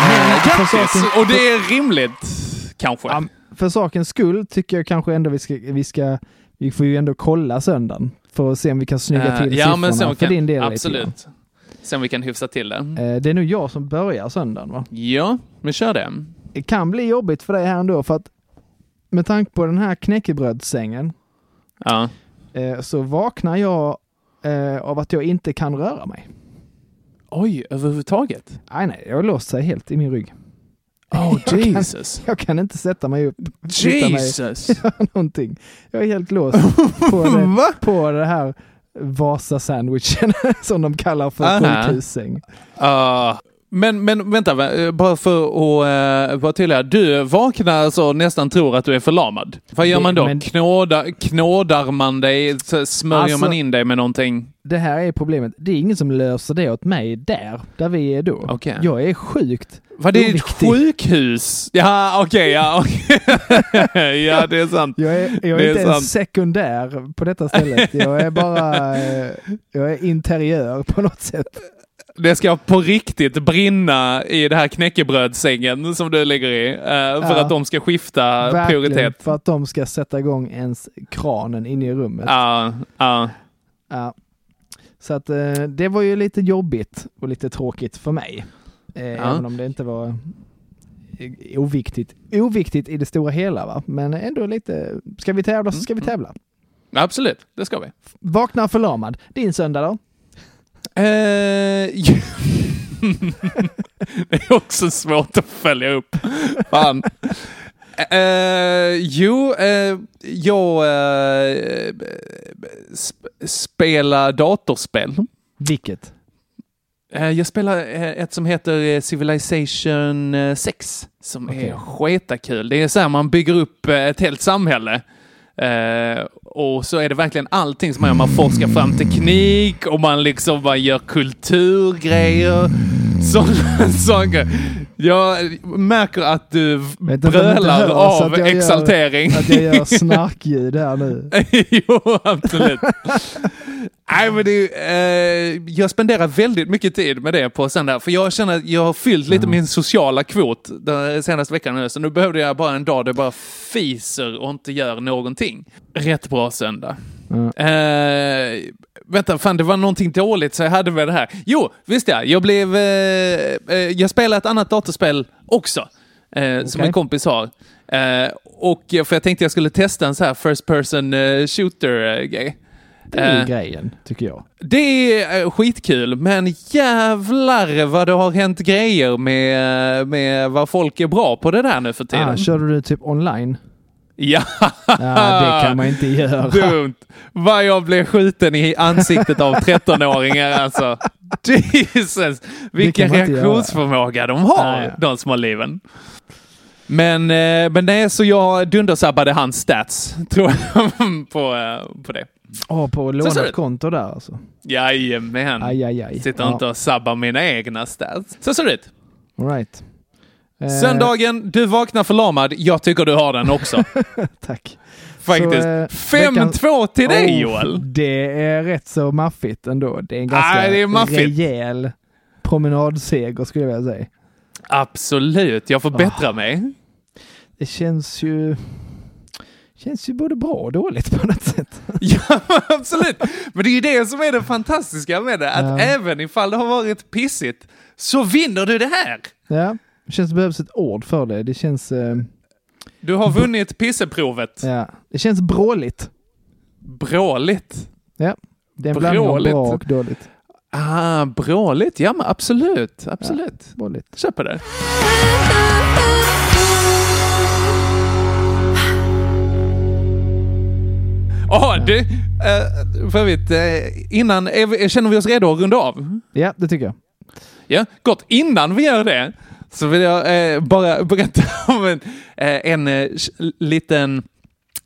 Speaker 7: Men för
Speaker 6: Grattis!
Speaker 7: saken-
Speaker 6: Och det är rimligt, kanske.
Speaker 7: För sakens skull tycker jag kanske ändå vi ska, vi ska, vi får ju ändå kolla söndagen för att se om vi kan snygga
Speaker 6: Eh,
Speaker 7: till siffrorna
Speaker 6: ja, men sen
Speaker 7: för
Speaker 6: kan,
Speaker 7: din del. lite grann.
Speaker 6: Absolut. Sen vi kan hyfsa till det.
Speaker 7: Eh, Det är nog jag som börjar söndagen va?
Speaker 6: Ja, men kör det.
Speaker 7: Det kan bli jobbigt för dig här ändå för att med tanke på den här knäckebrödssängen
Speaker 6: Ja.
Speaker 7: eh, så vaknar jag eh, av att jag inte kan röra mig.
Speaker 6: Oj, överhuvudtaget?
Speaker 7: Nej, nej, jag har låst sig helt i min rygg.
Speaker 6: Oh,
Speaker 7: Jesus. Jag kan inte sätta mig upp. flytta mig,
Speaker 6: Jesus.
Speaker 7: göra någonting. Jag är helt låst på, det, på det här Vasa-sandwichen som de kallar för
Speaker 6: Aha.
Speaker 7: sjukhussäng.
Speaker 6: Ah. men, men vänta, va- eh, bara för att uh, vara tydliga. Du vaknar så nästan tror att du är förlamad. Vad gör
Speaker 7: Det-
Speaker 6: man då?
Speaker 7: men-
Speaker 6: Knåda, knådar man dig? Så Smörjer
Speaker 7: Alltså-
Speaker 6: man in dig med någonting?
Speaker 7: Det här är problemet. Det är ingen som löser det åt mig där, där vi är då. Jag är sjukt
Speaker 6: Vad det är ett
Speaker 7: oviktig.
Speaker 6: sjukhus? Ja, okej, ja. okej. ja, det är sant.
Speaker 7: Jag är, Jag är,
Speaker 6: det
Speaker 7: inte
Speaker 6: sant.
Speaker 7: ens sekundär på detta stället. Jag är bara eh, jag är interiör på något sätt.
Speaker 6: Det ska på riktigt brinna i det här knäckebrödsängen som du ligger i. eh, för
Speaker 7: Ja.
Speaker 6: att de ska skifta
Speaker 7: Verkligen,
Speaker 6: prioritet.
Speaker 7: för att de ska sätta igång ens kranen inne i rummet.
Speaker 6: Ja, ja.
Speaker 7: Ja. Så att eh, det var ju lite jobbigt och lite tråkigt för mig. Eh,
Speaker 6: Ja.
Speaker 7: Även om det inte var eh, oviktigt, oviktigt i det stora hela. Va? Men ändå lite, ska vi tävla så ska vi
Speaker 6: Mm.
Speaker 7: tävla.
Speaker 6: Absolut, det ska vi.
Speaker 7: Vaknar förlamad. Din söndag då?
Speaker 6: Eh, det är också svårt att följa upp. Fan. Eh, jo, eh, jag eh, sp- spelar datorspel.
Speaker 7: Vilket?
Speaker 6: Eh, jag spelar eh, ett som heter eh, Civilization eh, 6 som är skitakul. Det är så här man bygger upp eh, ett helt samhälle. Eh, och så är det verkligen allting som man gör. Man forskar fram teknik och man liksom man gör kulturgrejer. Sådana saker. Jag märker att du v-
Speaker 7: Vet inte om ni inte
Speaker 6: brölar
Speaker 7: hör, så
Speaker 6: av
Speaker 7: att jag gör-
Speaker 6: exaltering.
Speaker 7: Att jag gör snarkljud här nu.
Speaker 6: jo, absolut. Nej, men det, är ju, eh, jag spenderar väldigt mycket tid med det på söndag. För jag känner att jag har fyllt
Speaker 7: Mm.
Speaker 6: lite min sociala kvot den senaste veckan nu. Så nu behövde jag bara en dag där jag bara fiser och inte gör någonting. Rätt bra söndag.
Speaker 7: Mm.
Speaker 6: Eh, vänta, fan det var någonting dåligt så jag hade med det här. Jo, visst ja. Jag blev... Eh, eh, jag spelade ett annat datorspel också. Eh, Som
Speaker 7: Okej.
Speaker 6: en kompis har. Eh, och för jag tänkte jag skulle testa en så här first person eh, shooter-grej.
Speaker 7: Det är
Speaker 6: Eh.
Speaker 7: ju grejen, tycker jag.
Speaker 6: Det är eh, skitkul, men jävlar vad det har hänt grejer med, eh, med vad folk är bra på det där nu för tiden.
Speaker 7: Ah, körde du typ online?
Speaker 6: Ja,
Speaker 7: Ja, det kan man inte göra.
Speaker 6: Dumt. Vad jag blev skjuten i ansiktet av 13-åringar alltså. Jesus, vilken
Speaker 7: man inte göra.
Speaker 6: reaktionsförmåga de har,
Speaker 7: Ja, ja.
Speaker 6: de små liven. Men, eh, men nej, så jag dundersabbade hans stats, tror jag, på, eh, på det.
Speaker 7: Åh, Ah, på
Speaker 6: ser det
Speaker 7: lånat
Speaker 6: ut.
Speaker 7: konto där alltså.
Speaker 6: Jajamän.
Speaker 7: Aj, aj, aj.
Speaker 6: Sitter
Speaker 7: Ja.
Speaker 6: inte och sabbar mina egna stats. Så ser det ut.
Speaker 7: All right. Eh,
Speaker 6: Söndagen, du vaknar förlamad. Jag tycker du har den också.
Speaker 7: Tack.
Speaker 6: Faktiskt.
Speaker 7: Så, eh,
Speaker 6: 5-2 till dig
Speaker 7: Oh,
Speaker 6: Joel.
Speaker 7: Det är rätt så maffigt ändå. Det är en ganska
Speaker 6: Nej, Ah, det är maffigt.
Speaker 7: rejäl promenadseger skulle jag vilja säga. Ah.
Speaker 6: Absolut, jag får bättra mig.
Speaker 7: Det känns ju... Känns ju både bra och dåligt på något sätt.
Speaker 6: Absolut! Men det är ju det som är det fantastiska med det, att
Speaker 7: Ja.
Speaker 6: även ifall det har varit pissigt så vinner du det här!
Speaker 7: Ja, det känns det behövs ett ord för det. Det känns, eh,
Speaker 6: Du har vunnit pisseprovet.
Speaker 7: ja, det känns bråligt.
Speaker 6: Bråligt.
Speaker 7: Ja, det är en blandning av
Speaker 6: Bråligt.
Speaker 7: bra och dåligt.
Speaker 6: Ah, bråligt. Ja, men absolut. Absolut.
Speaker 7: bråligt.
Speaker 6: Köper det. Jaha, du. eh, För övrigt, eh, innan, är- känner vi oss redo att runda av?
Speaker 7: Ja, det tycker jag.
Speaker 6: Ja, gott. Innan vi gör det så vill jag eh, bara berätta om en, eh, en eh, sh- liten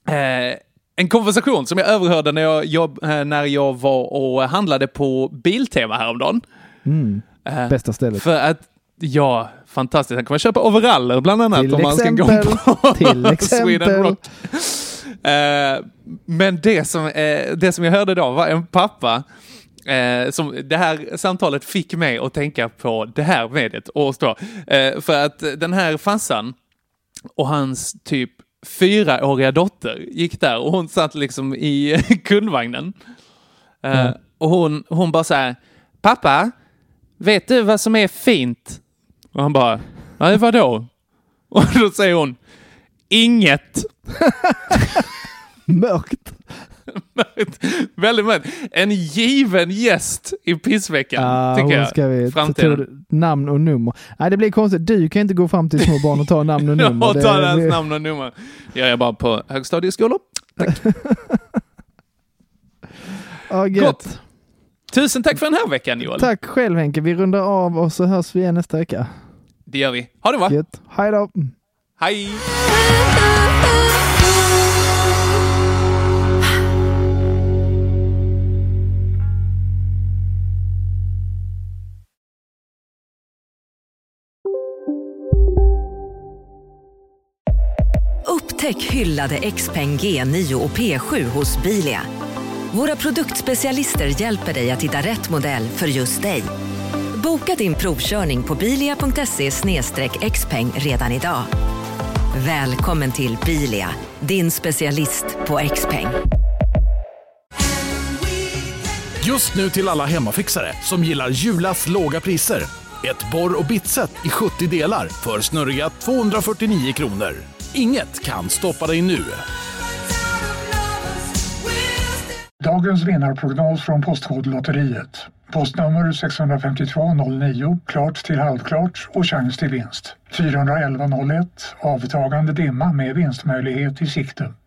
Speaker 6: eh, en konversation som jag överhörde när jag, jobb, eh, när jag var och handlade på Biltema häromdagen.
Speaker 7: Mm.
Speaker 6: Eh,
Speaker 7: Bästa stället.
Speaker 6: För att, ja, fantastiskt. Här kan man köpa overaller bland annat
Speaker 7: Till
Speaker 6: om man ska gå
Speaker 7: exempel.
Speaker 6: på
Speaker 7: Till exempel.
Speaker 6: Sweden Rock. Eh, men det som, eh, det som jag hörde då var en pappa Eh, som det här samtalet fick mig att tänka på det här mediet. Och så, eh, för att den här farsan och hans typ fyraåriga dotter gick där och hon satt liksom i kundvagnen. Eh,
Speaker 7: Mm.
Speaker 6: Och hon, hon bara så här, pappa, vet du vad som är fint? Och han bara, nej vadå? Och då säger hon, inget.
Speaker 7: Mörkt.
Speaker 6: Väldigt mörkt. En given gäst i pissveckan,
Speaker 7: Ja,
Speaker 6: tycker
Speaker 7: Ah, hon
Speaker 6: jag.
Speaker 7: ska vi
Speaker 6: Framtiden.
Speaker 7: ta- namn och nummer. Nej, det blir konstigt. Du kan inte gå fram till små barn och ta namn och nummer.
Speaker 6: Jag
Speaker 7: Det-
Speaker 6: tar
Speaker 7: det-
Speaker 6: hans namn och nummer. Jag är bara på högstadieskolor.
Speaker 7: Ja, gött.
Speaker 6: Gott. Tusen tack för den här veckan Joel.
Speaker 7: Tack själv Henke. Vi rundar av och så hörs vi igen nästa vecka.
Speaker 6: Det gör vi. Ha det bra.
Speaker 7: Gött. Hej då.
Speaker 6: Hej!
Speaker 11: Upptäck hyllade XPeng G9 och P7 hos Bilia. Våra produktspecialister hjälper dig att hitta rätt modell för just dig. Boka din provkörning på bilia.se xpeng redan idag. Välkommen till Bilia, din specialist på XPeng.
Speaker 1: Just nu till alla hemmafixare som gillar Julas låga priser. Ett borr och bitset i 70 delar för snurriga 249 kronor. Inget kan stoppa dig nu.
Speaker 12: Dagens vinnarprognos från Postkodlotteriet. Postnummer 65209, klart till halvklart och chans till vinst. 41101, avtagande dimma med vinstmöjlighet i sikte.